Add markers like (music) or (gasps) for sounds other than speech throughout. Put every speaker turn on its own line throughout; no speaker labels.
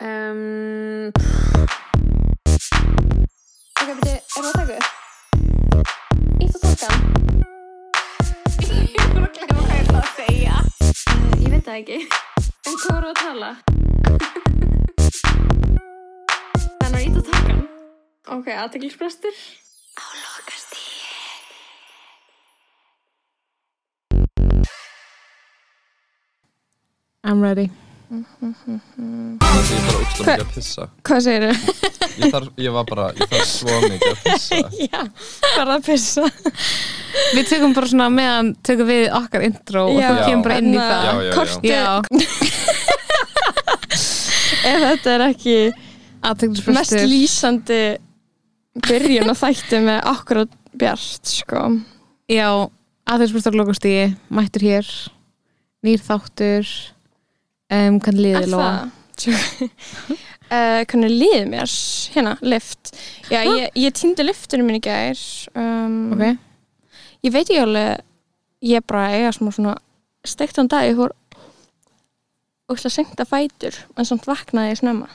Um,
Ok, beti, er það að taka upp? Ítt
(laughs)
og tólkan.
ég er bara að glemma hvað ég ætla að segja.
Eh, ég veit það ekki.
En hvað voru að tala?
(laughs) Þannig að ítt og tólkan.
Ok, aðteglisbrestur.
Lokast í.
I'm ready
Ég er bara ógst mikið að pissa
Hvað segirðu?
ég, þarf, ég var bara, ég þarf svo mikið að pissa
(laughs) Já, bara að pissa Við tökum bara svona meðan tökum við okkar intro
Já.
og þú kemur bara inn í
Já,
það
já, já.
Korti
Ef þetta er ekki mest
Aðteglisbrestur
lýsandi byrjun að þætti með akkurat bjart, sko.
Já, aðteglisbrestur lokastíi Mættur hér Nýr þáttur um, Hvernig liðið lóa?
(laughs) Uh, hvernig liðið mér hérna, lift
Ha?
já, ég, ég týndi liftinu minni gær um,
Ok,
ég veit ekki alveg ég er bara að eiga smá svona steiktan dag, ég fór útla sengt að fætur, en samt vaknaði ég snemma,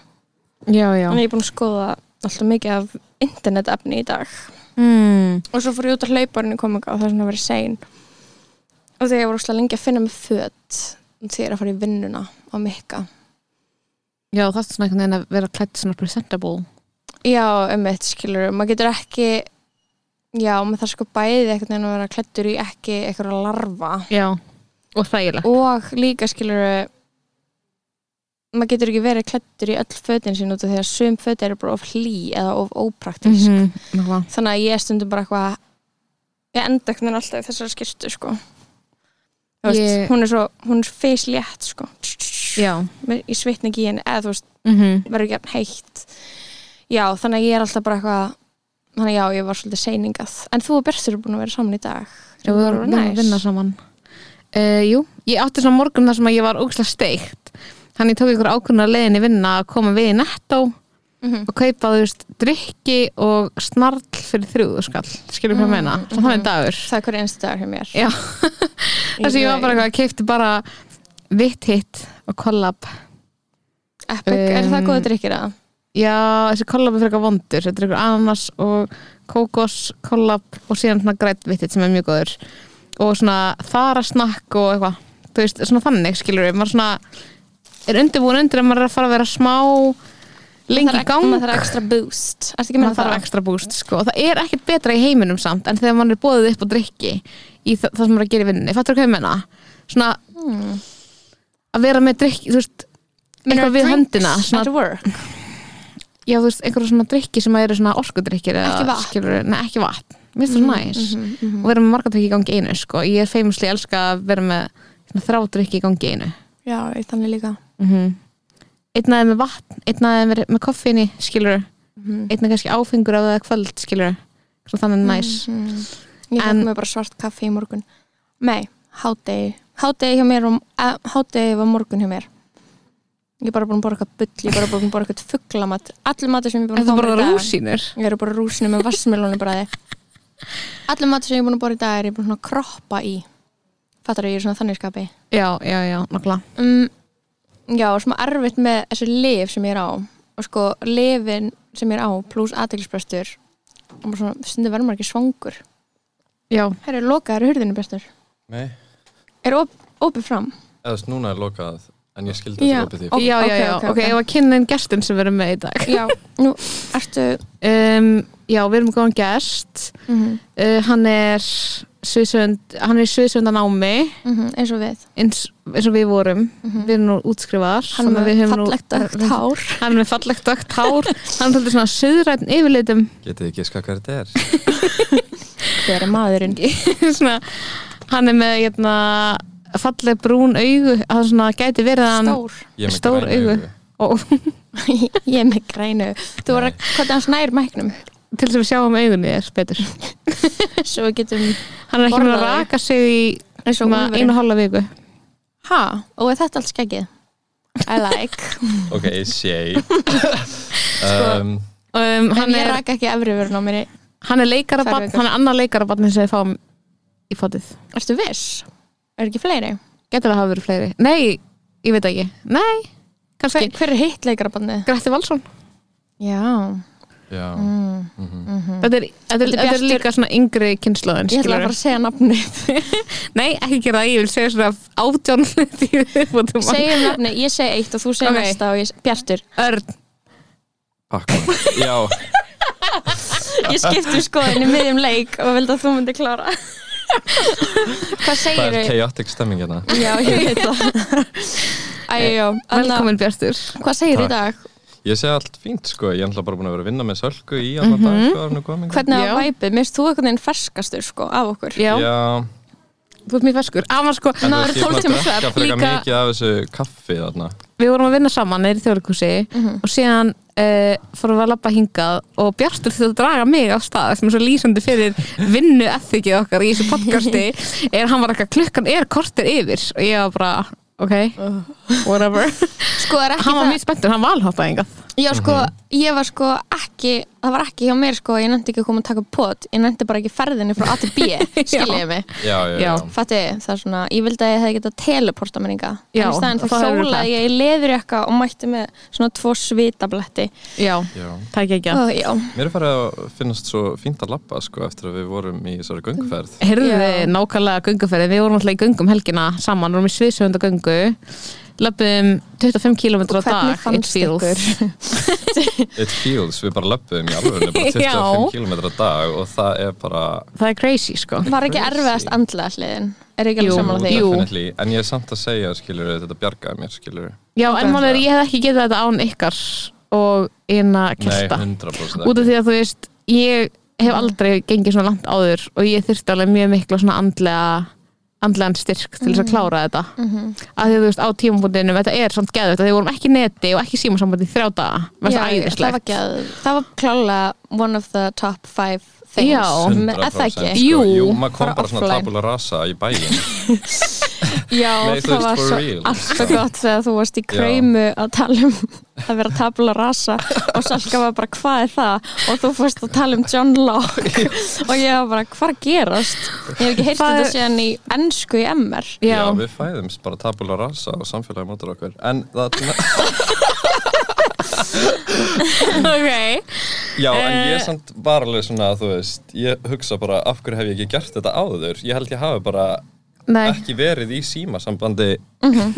já, já
þannig ég er búin að skoða alltaf mikið af internetefni í dag
mm.
og svo fór ég út að hlaupa henni kominga og það er svona að vera sein og þegar ég var útla lengi að finna mig föt þegar að fara í vinnuna á mikka
Já, það er svona einhvern veginn að vera klætt svona presentable
Já, um eitt skilur, maður getur ekki já, maður þarf sko bæði einhvern veginn að vera klættur í ekki einhverja larva
Já, og þægilega
og líka skilur maður getur ekki verið klættur í öll fötin sín út af því að sum föt eru bara of hlý eða of ópraktisk
-hmm.
þannig að ég er stundum bara eitthvað ég enda einhvern veginn alltaf í þessari skirtu sko Þú veist,
Ég-
hún er svo, hún er feislétt sko
Já
Mér- ég svitna ekki í henni eða þú veist
mm
verður ekki jafn heitt já, þannig að ég er alltaf bara eitthvað þannig að já, ég var svolítið seiningað en þú og Bertur eru búin að vera saman í dag
Já, við vorum búin að vinna saman uh, Jú, ég átti svona morgun þar sem að ég var ógislega steikt Þannig ég tók ykkur ákvörna leiðin í vinna að koma við í nettó
Mhm.
og kaupa, þú veist, drykki og snarl fyrir þrjúðu skall Skilur hvað ég meina, mm -hmm. þannig dagur
það er hver einstu dagur hjá mér
Já, þess að ég var bara eitthvað, keipti bara vitt hitt og kollab
Epic, er það
Um,
góða drikkir að?
Já, þessi kollab er frekar vondur Þetta er ykkur ananas og kókos kollab og síðan svona grætt vittit sem er mjög góður og svona þarasnakk og eitthvað þú veist, svona þannig skilur við maður svona er undirbúin undir en maður er að fara að vera smá lengi í gang
maður þarf ekstra boost er ekki
maður
meina
þarf
það?
ekstra búst sko. og það er ekkert betra í heiminum samt en þegar maður er bóðið upp á drikki í það, það sem maður er að gera í vinnunni, fattur hvað ég menna svona
Hmm.
að vera með drikki, þú veist
Meinaru
eitthvað við
drinks
höndina
at
svona,
work
já, þú veist, einhverja svona drikki sem eru svona orskudrikkir eða
Ekki vatn. Mhm,
skilurðu- nei, ekki vatn, mér finnst það svo næs og vera með marga drikki í gangi í einu sko. ég er feimusli elska að vera með svona, þrá drikki í gangi í einu
já, ég þannig
mm
líka Mhm.
-hmm. einn aðeins með vatn einn aðeins með, með koffinni, skilur
Mhm.
einn aðeins kannski áfengur af það kvöld, skilur svo þannig næs
mm. ég
En-
fekk mér bara svart kaffi í morgun nei, hádegi hádegi hjá mér, og- eh, hádegi var morgun hjá mér ég er bara búin að borga eitthvað bull, ég er bara búin að borga eitthvað fugglamat allir matur sem ég er búin
Þetta
að
er
borga
bara
í dag-
rúsínur
ég er bara rúsinu með vassmilónu bræði allir matur sem ég er búin að borga í dag er ég búin svona að kroppa í fattar ég er svona þannig skapi
Já, já, já, nokkla
um, já, og smá erfitt með þessu lif sem ég er á og sko, lifin sem ég er á pluss aðeinsbrestur og bara svona, stundum verður maður ekki svangur
Já,
Herru, lokaður hurðinu bestur.
Nei,
Er op, opið fram?
eða þess núna er lokað en ég skildi þetta
Já.
opið því
Ok,
já, já,
ok,
já,
ok,
ok,
ok.
okay. ég var kynnið gestin sem við erum með í dag
Já. Nú, ertu...
um, Já, við erum með góðan gest
Mm -hmm,
uh, Hann er sviðsönd, hann er í sviðsöndanámi
mhm, eins og við.
eins, eins og við vorum Við erum nú útskrifaðar
Mhm. Hann
þannig að
með
við höfum nú-
fallegt ökt hár.
Hann er með fallegt dögt hár Hann er svolítið svona suðrætn yfirleitum
Getið þið giska hvað þetta er?
Hver er maðurinn?
(laughs) svona, Hann er með hérna, falleg brún augu Hann svona gæti verið að hann
Stór.
Ég er með
Stór
græn
augu. og,
(laughs)
(laughs)
ég er með grænu. Þú voru að, hvað hann snær mæknum?
Til þess að við sjáum augunni er betur
Svo við getum...
Hann er ekki með að
Borðaði.
raka sig í
Eins og
svona
úlfurinn.
einu og hálfa viku
Ha? Og er þetta allt skeggið? I (laughs) like.
Ok, sé Sko.
um,
um,
en
hann,
ég
er,
ræk ekki efri vörun á mér.
hann er leikarabann
Tvær vikur.
hann er annað leikarabann sem við fáum í fótið
Ertu viss? Er ekki fleiri?
Getur það hafa verið fleiri? Nei, ég veit það ekki Nei,
Hver,
kannski
hver er hitt leikarabanni?
Gretti Valsson
Já
já,
mm.
þetta, er, þetta, er,
Þetta er
þetta er
Bjartur-
líka svona yngri kynnslóðin
Ég ætla að fara að segja nafnið (laughs)
Nei, ekki gera það, ég vil segja svona átjón hluti í viðbótum.
Segjum nafnið, ég segi eitt og þú segir
Ok.
næsta og ég Bjartur,
Örn
pakka já,
ég skipti skoðin í miðjum leik og vildi að þú myndi klára Hvað
það
segir
er
þau?
chaotic stemming hérna
Já, ég veit það Æjó, annað,
Velkomin Bjartur
uh, hvað segir í dag?
ég segi allt fínt sko, ég er alltaf bara búin að vera að vinna með sölku í allan mm dag sko, áður en við komum hingað.
Já.
Hvernig á væpið? Mér finnst þú einhvern veginn ferskastur sko af okkur
Já,
já,
þú ert mjög ferskur Amma sko,
en þú
Náður
veist, ég er búin
12 tíma
að drekka
svefn,
frekar
líka-
mikið af þessu kaffi þarna
við vorum að vinna saman neyri í þjóðleikhúsi
Mhm.
og síðan uh, fórum við að labba hingað og Bjartur þurfti að draga mig af stað sem er svo lýsandi fyrir vinnu ethikið okkar í þessu podcasti
(laughs)
er hann var eitthvað klukkan er kortir yfir og ég var bara, ok,
Uh. (laughs)
whatever
Sko, er ekki
Hann var
það-
mjög spenntur, hann valhoppaði hingað
Já, sko,
Mhm.
ég var sko ekki, það var ekki hjá mér sko, ég nefndi ekki að koma að taka pot, ég nefndi bara ekki ferðinni frá A til B, (laughs) skiljiði mig.
já, já,
Já.
já,
Fattiði, það er svona, ég vildi að ég hefði getað teleporta mér inga.
Já,
í staðinn
og
þá
þá hefurðu
hjólaði ég í leðurjakka og mætti með svona tvo svitabletti.
Já,
já.
takk ekki að
Ó, já,
mér er farið að finnast svo fínt að labba sko, eftir að við vorum í þessari gönguferð
Heyrðu
Já.
þið nákvæmlega gönguferði, við vorum alltaf í göngum um helgina saman, vorum í sviðsöfunda göngu löpum 25 km á
Og hvernig
dag
fannst ykkur?
It feels, við bara löpum í alveg
(laughs)
bara
Já.
25 km á dag og það er bara
það er crazy sko
Var ekki
Crazy.
erfiðast andlega hliðin? Er ekki alveg
Jú.
saman á því?
Jú.
definitely, en ég er samt að segja skilur þetta bjargaði mér skilur
Já, en mál er ég hef ekki getað þetta án ykkar og eina
nei,
kjasta
100%
út af því að þú veist ég hef aldrei gengið svona langt áður og ég þurfti alveg mjög mikla svona andlega andlegan styrk til þess
Mhm.
að klára þetta mm að því að þú veist á tímabundinu þetta er samt geðvægt að því við vorum ekki í neti og ekki símasambandi í þrjá daga, það er
Já, já, það var
æðislegt
ekki að, það var klálega one of the top five things.
Já.
Með- er
100%
það ekki?
sko,
Jú,
jú maður kom
bara
bara svona
offline.
tabula rasa í bæin
Já,
Nei, þú
það
veist,
var
for
svo
real.
alltaf gott þegar þú
(laughs)
varst í kreimu að tala um að vera tabla rasa og Salka var bara hvað er það og þú fórst að tala um John
(laughs)
Locke og ég var bara hvað er að gerast ég hef ekki heyrt
Það
þetta
er-
síðan í ennsku í MR (laughs)
já.
Já,
við fæðumst bara tabula rasa og samfélagi mótur okkur en það
ok
já, en
Eh.
ég samt var alveg svona þú veist, ég hugsa bara af hverju hef ég ekki gert þetta áður ég held ég hafi bara
Nei, Mhm.
ekki verið í símasambandi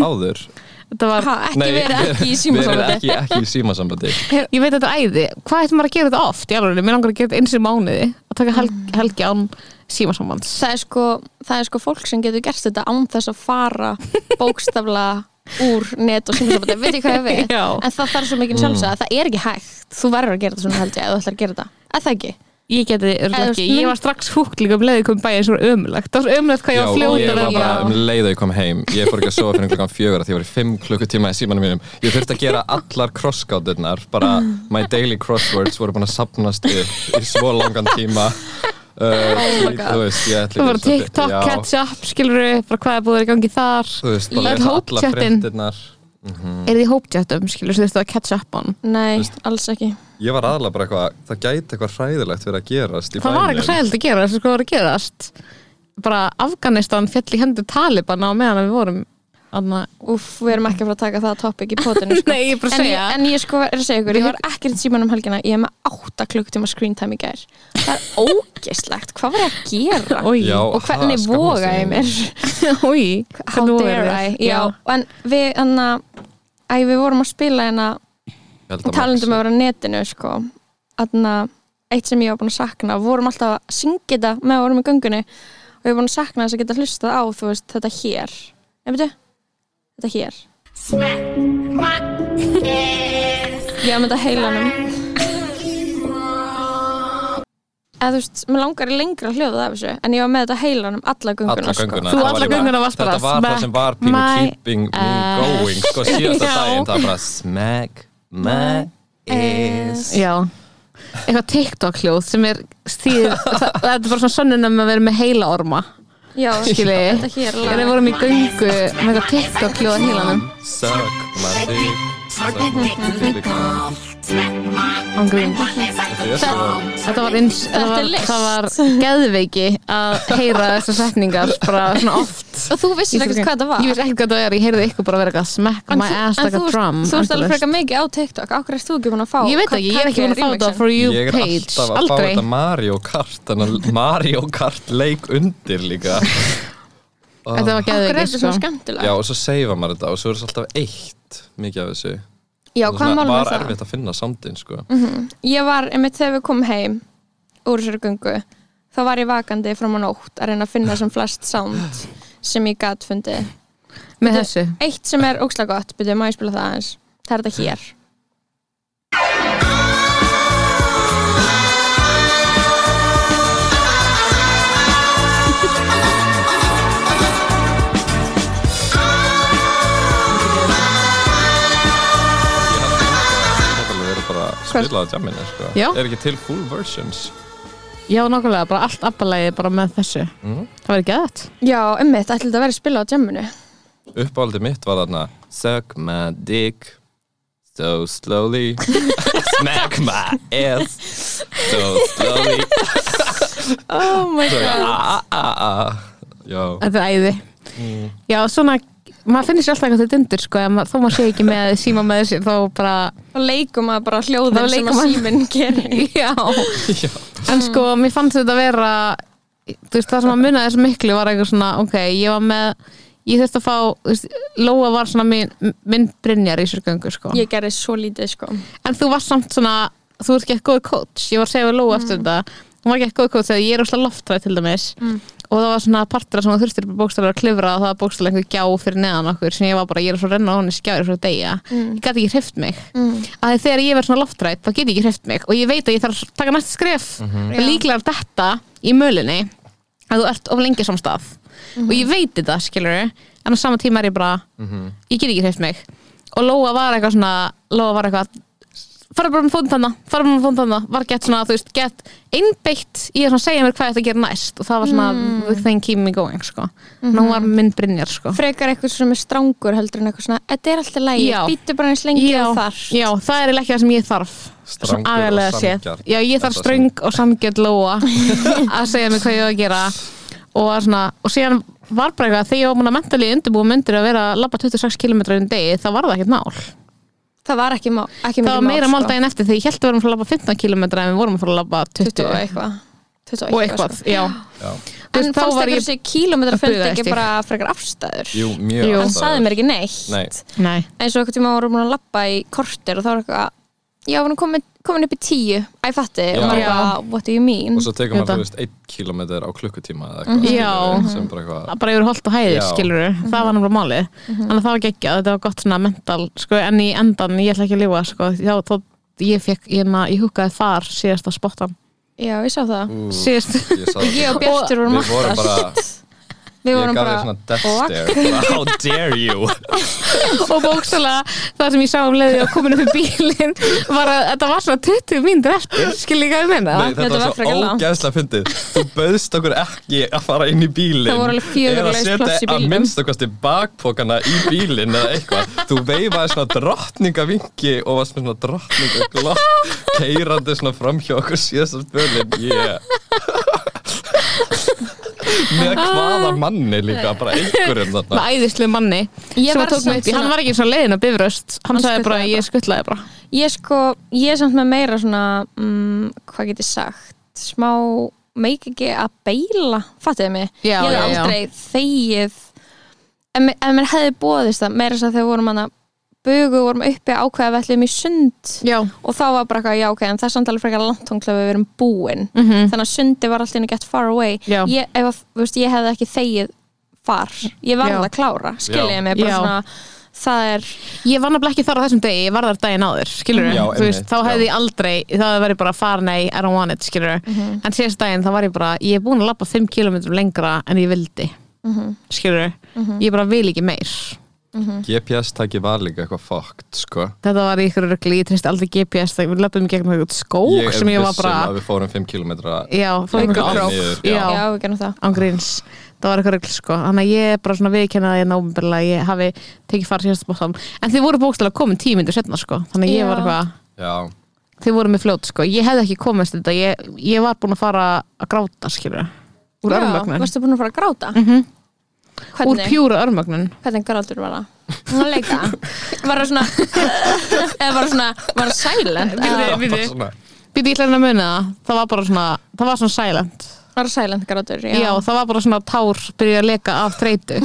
áður
þetta var
ha, ekki verið ekki í símasambandi
verið ekki, ekki í símasambandi
Ég veit að þetta er æði, hvað ætti maður að gera þetta oft? Ég alveg, mér langar að gera þetta eins í mánuði að taka helg,
Mm.
helgi án símasambands
það er, sko, það er sko fólk sem getur gert þetta án þess
(laughs)
að fara bókstafla úr net og símasambandi veit ég hvað ég veit
Já.
en það þarf svo mikið sjálfsög að það er ekki hægt þú verður að gera þetta svona held ég að þú ætlar að gera þetta að það ekki
Ég geti örugglega
Eða,
ekki,
þú-
ég var strax húkt líka um leiði kom bæði eins og ömulegt Það var svo ömulegt hvað ég var
ég
fljóta
var
að
bara
já.
um leið að ég kom heim Ég fór ekki að sofa fyrir klukkan fjögur af Því ég var í fimm klukkutíma í símanum mínum Ég þurfti að gera allar crossgáturnar Bara my daily crosswords voru búin að sapnast upp Í svo langan
(laughs)
tíma Uh, oh
God.
þú veist, ég ætla
Það var
ekki að
TikTok,
Já,
Ketchup, skilur bara hvað er búið að vera í gangi þar
Þú veist, bara
Öll
lesa allar
hópchattin.
fréttirnar
Er þið hóptjöttum, skilur, þú veist það Ketchup on
Nei, alls ekki
Ég var aðalega bara eitthvað Það gæti eitthvað hræðilegt verið að gerast í
Það var eitthvað sæðilt að gera, þess að sko var að gerast Bara Afganistan fjall í hendur Talibana á meðan að við vorum Anna,
Úff, við erum ekki að fara að taka það topic í potinu sko.
(laughs) Nei, ég er bara að
en, ég,
segja.
en ég sko er að segja ykkur, ég var ekkert síman um helgina Ég er með 8 klukkutíma screen time í gær Það
(laughs)
er ógeslegt, hvað var ég að gera?
Oj.
Já,
(laughs)
og hvernig
ha, skammast
voga ég
þín.
mér?
Új,
How dare I? Já, en við, hana, æ, við vorum að spila hérna
um
Talandum að vera á netinu sko. Þarna, eitt sem ég var búin að sakna Vorum alltaf að syngja þetta með að vorum í göngunni Og ég var búin að sakna þess að geta hlustað á Þú veist, þetta hér Nei, veitu, þetta hér Ég hafði þetta heilanum Eða þú veist, mér langar í lengra hljóðið af þessu En ég var með þetta heilanum alla gönguna, sko.
Alla gönguna
Þú
það var
alla
ég bara-
gönguna varst bara
Þetta var það
smack
sem var pínu
my
keeping me
ass.
going Sko síðasta
(laughs) Já.
daginn, það var bara smack my ass
Já eitthvað TikTok hljóð sem er stíð, (laughs) það, það er bara svona sönnunum að vera með heila orma
Sko. Já,
skilji,
þetta hér
þegar við vorum í göngu með eitthvað TikTok hljóð að heilanum
Suck my dick Suck my dick
ángrín Þetta var, eins, þetta
Þetta er
var,
list.
það var geðveiki að heyra þessar setningar bara svona oft
og þú vissir ekkert hvað þetta var
Ég veist ekkert hvað það er, ég heyrði ykkur bara vera eitthvað smack
En
my
þú-
ass
en
like a
þú-
drum
þú veist alveg
endalaust.
frekar mikið á TikTok, okkur erst þú ekki búin að fá
Ég veit ekki, ég er ekki búin að fá þetta for you
Ég er
page
alltaf að fá
Aldrei
þetta Mario Kart Þannig að Mario Kart leik undir líka
(laughs)
Ah.
Þetta var
okkur er
geðveiki
þetta
sko.
svona skemmtilega
Já og svo seifa maður þetta og svo er þess alltaf eitt mikið af þessu
já
Og
hvað
svona
málum er
Var
það?
erfitt að finna samtinn sko
ég var, einmitt þegar við komum heim úr þessari gungu þá var ég vakandi fram á nótt að reyna að finna sem flest sound sem ég gat fundið
Með þessu
eitt sem er ókslega gott, byrjuðu maður að spila það aðeins það er þetta hér
Þetta alveg verið bara að spila á jamminu sko
Já.
Er ekki til full versions
Já, nákvæmlega, bara allt abbalægi bara með þessu
Mhm.
Það var ekki aðeitt
já, einmitt, ætli þetta að vera að spila á jamminu
Uppáhaldið mitt var þarna Suck my dick So
(laughs)
slowly Smack my ass So slowly "Ah,
oh my
So,
god
a, a, a, a. Já,
(laughs)
Þetta er æði
Mm.
Já, svona, maður finnir sér alltaf eitthvað þetta undir sko, en ma- þó maður sé ekki með síma með þessi þá bara,
þá leikum maður bara hljóðin
Þá
sem
leikum
að
maður-
síminn gerir
já
já.
en sko, mér fannst þetta vera þú veist, það sem að muna þessu miklu var eitthvað svona, ok, ég var með ég þurfti að fá, þú veist, Lóa var svona minn, minn brinjar í sérgöngu sko.
ég gerði svo lítið sko
en þú varst samt svona, þú ert ekki eitthvað góð coach ég var að segja við Lóa eftir þetta hún var ekki eitthvað góð coach þegar ég er óslega loftræð til dæmis og það var svona partur sem þú þurftir bókstæðlega að klifra og það var bókstæðlega einhver gjá fyrir neðan okkur sem ég var bara, ég er svo að renna á hann í skjár svo að deyja, ég gæti ekki hreift mig mm. að því þegar ég verð svona loftrætt, þá get ég ekki hreift mig og ég veit að ég þarf að taka næsta skref og líklega er þetta í mölinni að þú ert of lengi á sama stað og ég veit þetta, skilur en á sama tíma er ég bara, ég get ekki hreift mig og Lóa var eitthvað svona Lóa var eitthvað fara bara með fótum þarna, fara bara með fótum þarna var gett svona, þú veist, gett einbeitt í að svona segja mér hvað þetta gera næst og það var svona,
Mm.
þeim keep me going sko. mm
Mhm.
hún var minn brinjar sko.
frekar eitthvað sem er strangur heldur en eitthvað svona þetta er alltaf lægi,
Já.
býttu bara eins lengi
já,
og þar
já, það er eiginlega ekki það sem ég þarf
Strangur
Svona agalega
og
séð.
sanngjarn.
Já, ég þarf
Þetta
ströng og samgjörn
(laughs)
lóa að segja mér hvað ég á að gera og, var svona, og síðan var bara eitthvað þegar ég var múin að mentalið undirbúið myndir að vera að labba 26 km um degi, það var það ekkert mál
það var ekki, má,
það
ekki mikið
var meira
sko.
mál daginn eftir þegar ég held að við vorum að fara að labba 15 km en við vorum að fara að labba 20,
20 og eitthvað 20
og eitthvað, já
já
Þú
sko. en
veist, þá
fannst
var
ekki
ég-
þessi kílómetrafjöld
að
ekki
bugaðist ég.
bara frekar afstæður
Jú, mjög
Jú.
hann sagði mér ekki neitt
Nei.
Nei.
eins og eitthvað tíma vorum búin að lappa í kortir og þá var eitthvað já, við erum komin, komin upp í tíu æ, fatti,
Já.
og maður bara, what do you mean
Og svo tekur maður,
Þetta.
þú veist, einn kilometr á klukkutíma eða
Mm-hmm.
eitthvað
Já.
skilur við, sem bara eitthvað
bara yfir holt og hæðir,
Já.
skilur
Mhm.
það var náttúrulega málið, þannig að það var geggjað þetta var gott svona mental, sko, en í endan ég ætla ekki að lífa, sko, já, þá ég fekk, ég, na, ég húkaði þar síðasta spottan,
já, ég sá það
Ú,
síðast (laughs)
Ég sagði
ég og
það.
Bjartur vorum
Mm. Við vorum
alltaf
bara
við
Ég
vorum
gaf þér
bara
svona death
og-
stare bara,
(laughs)
How dare you
og bókstala það sem ég sá um leiði og komin upp í bílinn var að þetta var svona 20 mín dreftir, skilur ég hvað ég meina
Nei, þetta
þetta var
var svo
frekar langt.
ógæðslega fyndið Þú bauðst okkur ekki að fara inn í bílinn
Það voru alveg fjögur
eða
laus pláss í
setja að
bílnum.
minnstakosti bakpokana í bílinn eða eitthvað Þú veifaði svona drottningavingi og varst með svona
(laughs)
drottningaglopp keirandi svona framhjá okkur síðast af bölinn
(laughs)
yeah. Með hvaða manni líka
(laughs)
bara einhverjum
með
þarna
æðislu manni
Ég
sem
var
tók mig
samt
upp í, hann
svona-
var ekki eins og leiðin að bifröst hann
Hann
sagði bara,
skutlaði
ég skuttlaði bara
ég sko, ég er samt með meira svona mm, hvað get ég sagt smá, meik ekki að beila fattuðu mig,
Já,
ég
já,
hef
já.
aldrei þegið en, me- en mér hefði bóðist það, meira þess að þegar vorum hann að bugu, vorum uppi að ákveða við ætlum í sund
já,
og þá var bara eitthvað, já ok, en það er samt alveg frekar langt langtónglega við erum búin
Mhm.
þannig að sundi var alltaf inn að get far away
Já.
ég, ef, að- þú veist, ég hefði ekki þegið far, ég varð
Já.
að klára skiljiði
Já.
mig, bara
Já.
svona það er,
ég var nefnilega ekki þar á þessum degi, ég var þar daginn áður skilur,
Já,
þú veist,
einmitt,
þá hefði
já.
ég aldrei þá hefði verið bara far nei, I don't want it skilur, en síðast daginn þá var ég bara ég er búin að lappa 5 km lengra en ég vildi skilur, ég bara vil ekki meir
GPS takki var líka eitthvað fucked sko
þetta var í ykkur röggli, ég treysti aldrei GPS þegar við löpum gegnum eitthvað skók
Ég er
sem ég var
vissum
bara
að við fórum 5 km
já, fór
Einhver
eitthvað
krók.
krók.
Já.
já,
já,
við genum það
án gríns það var eitthvað rögl sko, þannig að ég er bara svona viðkennið að ég náumberlega, ég hafi tekið fara síðast bóttam, en þið voru bókstæðlega komin tíu myndir setna sko, þannig að ég
Já.
var eitthvað
já,
Þið voru með fljót sko, ég hefði ekki komist þetta Ég, ég var búin að fara að gráta skilur Úr
Já,
örmögnun
varstu búin að fara að gráta?
Úr
Hvernig?
pjúra örmögnun
Hvernig grátur
(laughs)
var það? Hún leika Var það svona (laughs) Eða var það svona Var það silent? Eða
Býði,
bara
býði
svona
Býði, ég ætla hérna að muna það Það var bara svona, það var svona silent
Var það silent grátur?
Já, það var bara svona tár byrja að leka af (laughs) þreytu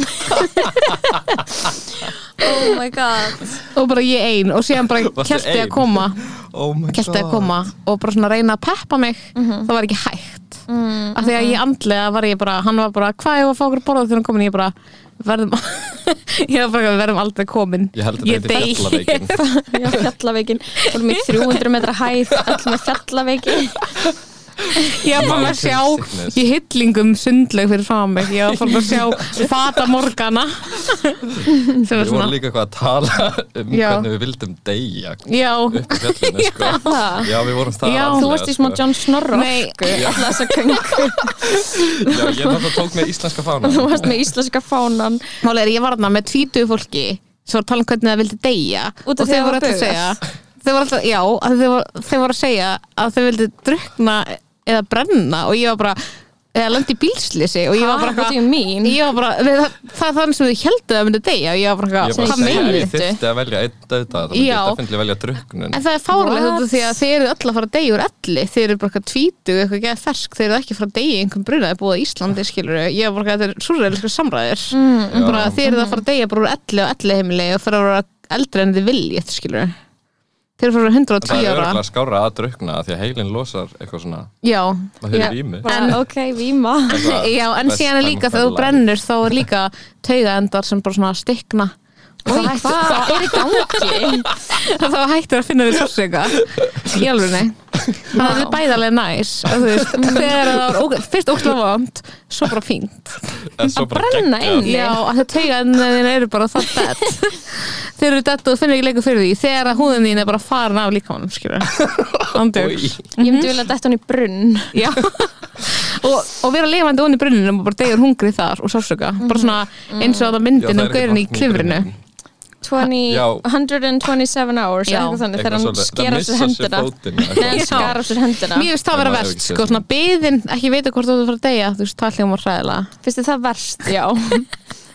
Oh my god
og bara ég ein og síðan bara
Varstu
kjælti að
ein?
koma
oh my
kjælti að koma og bara svona reyna að peppa mig það var ekki hægt af því að ég andlega var ég bara, hann var bara hvað ég var að fá okkur að borða þegar hann komin ég bara, verðum (laughs) ég var bara, við verðum aldrei komin
Ég held að þetta
(laughs)
heiti fjallaveikin.
Já, fjallaveikin Fórum í 300 metra hæð Allt með fjallaveikin
ég var bara að
Mountain
sjá
sickness.
í hyllingum sundlaug fyrir frá mig ég var bara að
(laughs)
sjá fata morgana sem var
Við vorum
svona
líka eitthvað að tala um
Já.
hvernig við vildum deyja
já,
upp í fjallinu,
(laughs)
sko.
Það
Já, við vorum það
Já.
alveg,
Þú varst í smá
sko.
John Snorro
Nei.
Alla þessa göngu
Já, ég náttúrulega tók með íslenska fána.
Þú varst með íslenska fánan
Málið er ég var þarna með tvítuðu fólki sem var að tala um hvernig það vildi deyja og
Út af því
þeir
að
voru
það
alltaf að segja þeir voru
var
alltaf, já, að þeir voru, þeir voru að segja að þeir vildi drukna eða brenna og ég var bara eða lendi í bílslýsi og ég var bara
Ha, what do you mean?
ég var bara, við, það, það er þannig sem þau heldur að myndi deyja og ég var bara,
Ég
eitthvað,
bara
hvað
segi að
meinir
ég
þetta?
þyrfti að velja einn döðda, þá myndi
Já.
ég definitíli velja druknun.
En það er fárlega
What?
þetta því að þeir eru öll að fara að deyja úr elli þeir eru bara eitthvað tvítug, eitthvað geða fersk þeir eru ekki að fara að deyja í einhverjum brunaði búið á Íslandi skilur ég var bara eitthvað þetta er súrreilsku samræðir mm, bara
Já.
þeir eru að fara að deyja bara úr elli og elli heimili og fara að vera eldri en þið vilji skilur þeir eru að fara að vera
Það
110
er
ára
örgulega skára að drukna því að heilin losar eitthvað svona,
Já, (laughs)
maður
Já.
hefur rými.
Bara,
En-
Ok, víma
Já, en síðan er líka þegar þú brennur þá er líka taugaendar sem bara svona stikna og
Oj,
þá hættir-
hvað er í gangi?
(laughs) þá hættir að finna þér sársauka í alveg þannig að þetta er bæðarlega næs að þú veist, þegar það var óg- fyrst ókslega vond svo bara fínt
brenna inni.
já, að það tauga en þeir eru bara það dead þeir eru dead og þú finnir ekki leikur fyrir því þegar að húðin þín er bara farin af líkamanum skilur andjóks
Ég myndi vilja dætt hann í brunn
Já (laughs) og, og vera lifandi onni brunninum og bara degur hungrið þar og sársöka
Mhm.
bara svona
Mm.
eins og að myndin og gaurin í klifrinu
20,
Já.
127 hours
Já.
eða eitthvað þannig þegar hann sker af sér hendina
(laughs)
Nei, hann skar af sér hendina
mér finnst það vera
Ef maður hefur
verst
ekki séð
sko, svona beðin, ekki vita hvort þú ert að fara að deyja þú veist, það hljómar hræðilega
Finnst þið það verst, já (laughs)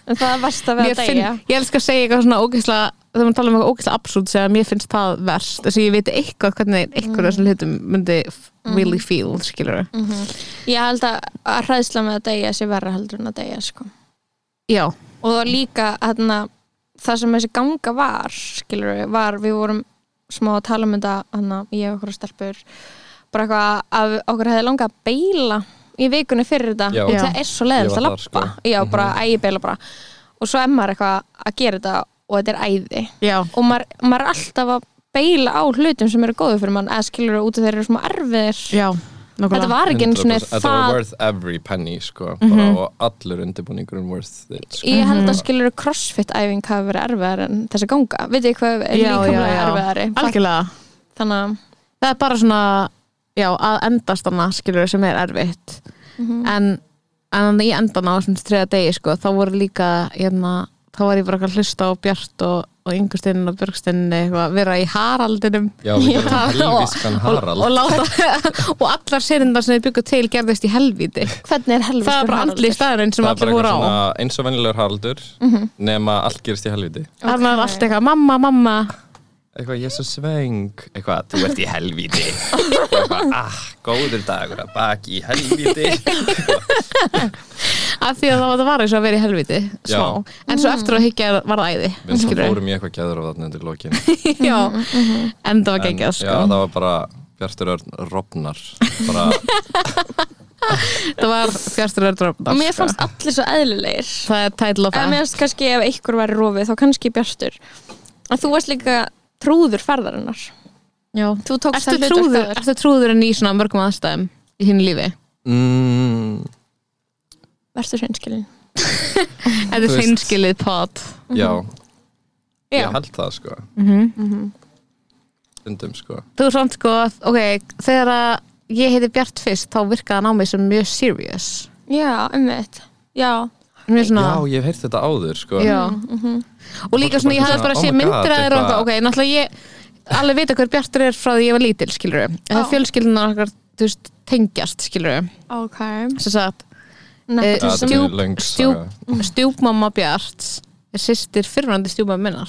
En það er verst að vera
Mér
að
finn,
deyja
ég elskar að segja eitthvað svona ógeðslega þegar maður tala um eitthvað ógeðslega absúrt segja að mér finnst það verst þess að ég veit eitthvað hvernig eitthvað
Mm.
þessum hlutum myndi f- really feel skilur
Ég held að, að hræðsla með að deyja sé verra heldur en að deyja sko.
já,
Og það var líka þarna, það sem þessi ganga var skilur við, var við vorum smá að tala um þetta hana, ég og okkur stelpur bara eitthvað að okkur hefði langað að beila í vikunni fyrir þetta
Já.
og
Já.
það er svo
Ég
leiðilegt að
var
lappa
þar, sko.
Já, bara, æ, ég beila bara og svo er maður eitthvað að gera þetta og þetta er æði
já,
og maður, maður er alltaf að beila á hlutum sem eru góðu fyrir mann eða skilur út af þeir eru smá erfiðir
já
þetta var ekki eins og
Þetta var
það
worth every penny sko
Mhm.
bara, og allur undirbúningurinn worth it sko.
ég held að skilur crossfit æfing hafi verið erfiðar en þessi ganga veit ég hvað er
Já, já,
líkamlega
já.
erfiðari Fakt-
algjörlega
þannig að
það er bara svona já, að endast hana skilur sem er erfitt en, en í endan á þessum þriða degi sko, þá voru líka hérna, þá var ég bara eitthvað að hlusta á Bjart og, og Ingustinni og Björgstinni eitthvað, vera í Haraldinum
Já, við gerum
Já,
helviskan Harald
og, láta, (laughs) og allar sérindar sem þið byggu til gerðist í helvíti
hvernig er helvist
það er bara andli
sko.
staðurinn sem
Það er
allir
bara
voru
eitthvað
á Mhm.
svona eins og venjulegur Haraldur nema allt gerist í helviti
þannig að allt eitthvað mamma, mamma
eitthvað ég er svo sveng eitthvað þú ert í helviti eitthvað ah, góður dagur að baki í helviti
(laughs) af því að það var- það var eins og að vera í helvíti
Já.
smá, en svo eftir að higgja var það æði
við svo
skilurðu.
fórum í eitthvað gæður á þarna undir lokin
já,
Mhm,
en það var
En,
geggjað
já,
sko
það var bara Bjartur Örn Robnar bara,
það var fjarstur ördrófnar
og
sko.
mér fannst allir svo eðlilegir
sko. það er title of
en
það
mér fannst kannski ef einhver væri rofið þá kannski björnstur en þú varst líka trúður ferðarinnar þú tókst
ertu
það hlutverk
trúður,
þaður.
ertu trúður en í svona mörgum aðstæðum í þínu lífi
mm,
verður hreinskilin
þetta er
veist-
seinskilið pod
já,
Mhm.
Já.
ég held það sko stundum sko
þú er samt sko, ok, þegar að ég heiti Bjart fyrst, þá virkaði hann á mig sem mjög serious
já, umveitt já,
mjög svona,
já, ég hef heyrt þetta áður sko
Já.
Mhm,
og líka svona, ég hafði
Svona,
bara
oh
séð
my God,
myndir að þér og
eitthvað-
eitthvað, ok, náttúrulega ég alveg vita hver Bjartur er frá því ég var lítil, skilur við. Það er
Já.
fjölskyldunar okkar, þú veist, tengjast, skilur við.
ok
Þess að
Nefnt-
Eh,
Það er
Stjúp-
mjög löng saga.
stjúp, stjúpmamma Bjart er sýstir fyrrandi stjúpmamma minnar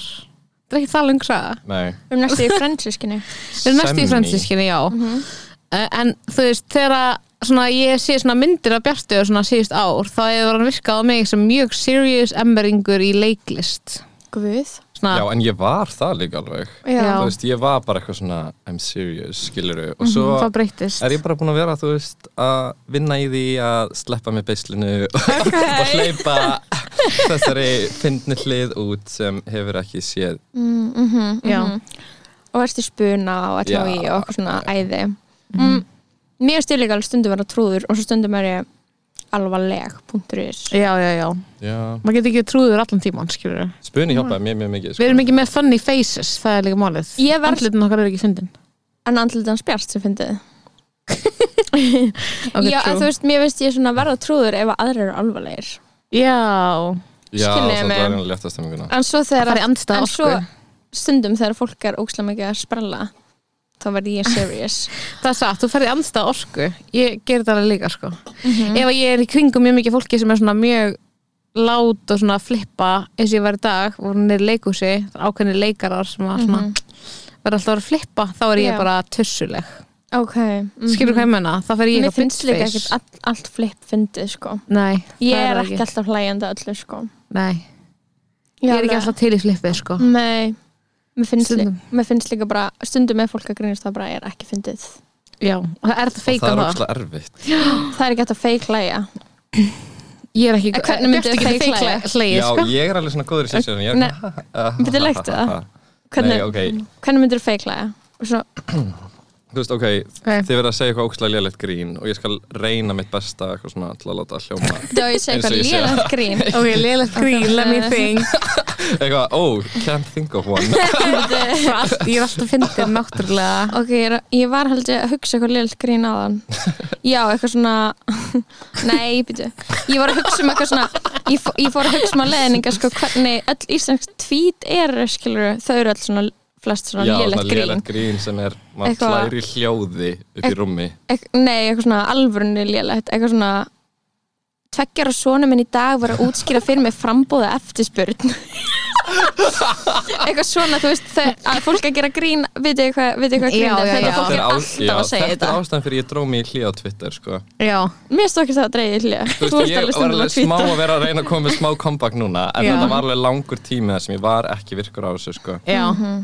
það er ekki það lengsa
Nei,
við erum næstu í fransískinni
það er næst í
Semný.
fransískinni, já
Mhm.
Eh, en þú veist, þegar að svona, ég sé svona myndir af Bjartu svona síðust ár, þá hefur hann virkað á mig sem mjög serious emberingur í leiklist
Guð
já
svona,
en ég var það líka alveg
hérna. Já.
Þú veist, ég var bara eitthvað svona I'm serious, skiluru Og svo
það breytist
er ég bara búin að vera, þú veist, að vinna í því að sleppa með beislinu (laughs) og hleypa þessari fyndni hlið út sem hefur ekki séð
Mm,
já,
mhm. og varst í spuna og
Já.
allá í og okkur svona æði mm. mér styrir líka alveg stundum vera trúður og svo stundum er ég alvarleg punktur í þess
já, já, já
Já,
maður getur ekki trúður allan tíman, skilur við
spuni hjálpaði mér mjög mikið sko.
við erum ekki með funny faces, það er líka málið
Ég verð-
andlitin okkar er ekki fundin
en andlutans bjart sem fyndið
okay,
já, en
true.
þú veist, mér veist ég svona verða trúður ef að aðrir eru alvarlegir
já,
Já,
skilurðu
það
mig.
var einu létta stemminguna
en svo þegar
fara í andstæða
en svo
orku.
stundum þegar fólk er ókslega mikið að sprella þá verð ég serious
Það er satt, þú ferði andstað orku Ég gerir það alveg líka sko
Mhm.
Ef að ég er í kringum mjög mikið fólki sem er svona mjög lát og svona flippa eins og ég var í dag, voru niður í leikhúsi ákveðni leikarar sem var svona mm alltaf að vera að flippa, þá er ég
Mhm. Já.
bara tussuleg,
(laughs) ok mm.
skilur hvað ég menna þá fer ég
mér
eitthvað
finnst líka ekkert
bitchface
all, allt flip fyndið sko
Nei,
ég
það
er
það
ekki alltaf hlægjandi öllu sko
Nei, ég er ekki alltaf til í flippið
Mhm.
sko
nei, mér finnst, líka,
Stundum.
mér finnst líka bara stundum með fólk að grínast það bara er ekki fyndið
Já, það er þetta
Og
feika
það er
það
ókslega erfitt
það er ekki alltaf feik hlæja
Ég er ekki,
En hvernig
Bjarti
myndi þau
getur
feika
feika
það?
hlegið
Já,
sko
ég er alveg svona góður í sér Ég
Nei.
er svona
Bíddu, leiktu það?
Nei,
hvernig,
ok,
hvernig myndir feik hlæja Svo,
þú veist, ok,
Ok.
þið verða að segja eitthvað ókslega lélegt grín og ég skal reyna mitt besta eitthvað svona til að láta hljóma
(laughs) þá ég segi
Eins og
eitthvað
ég sé.
lélegt grín
(laughs)
Ok, lélega skrýn, let me think
(laughs)
eitthvað, oh, can't think of one
Bíddu.
Svo allt- Ég er alltaf fyndin náttúrulega
Ok, ég, er- ég var held ég að hugsa eitthvað liðlt grín á þann Já, eitthvað svona (laughs) Nei, býtu Ég var að hugsa um eitthvað svona Ég, fó, ég fór að hugsa um að leðninga sko, hvernig öll íslensk tvít eru skilur þau eru öll svona flest svona
Já,
liðlegt grín
lélegt grín sem er, maður
Eitthvað-
hlæri hljóði upp í
Eit-
rúmi
Ek, Nei, eitthvað svona alvörunni liðlegt eitthvað svona tveggjara sonu minn í dag var að útskýra fyrir mig frambóða
(laughs)
eftirspurn eitthvað svona, þú veist þau, að fólk að gera grín, veit ég hvað veit ég hvað grín
Já,
er,
já,
þetta
já.
fólk
Þetta
er
á- já,
alltaf að segja
Þetta
þetta
er ástæðan fyrir ég dró mig í hlið á Twitter sko.
Já,
Mér stókist það að dreigja hlja
Þú veist, ég var alveg smá að vera að reyna að koma með smá comeback núna En
Já.
þetta var alveg langur tími þar sem ég var ekki virkur á þessu sko.
já,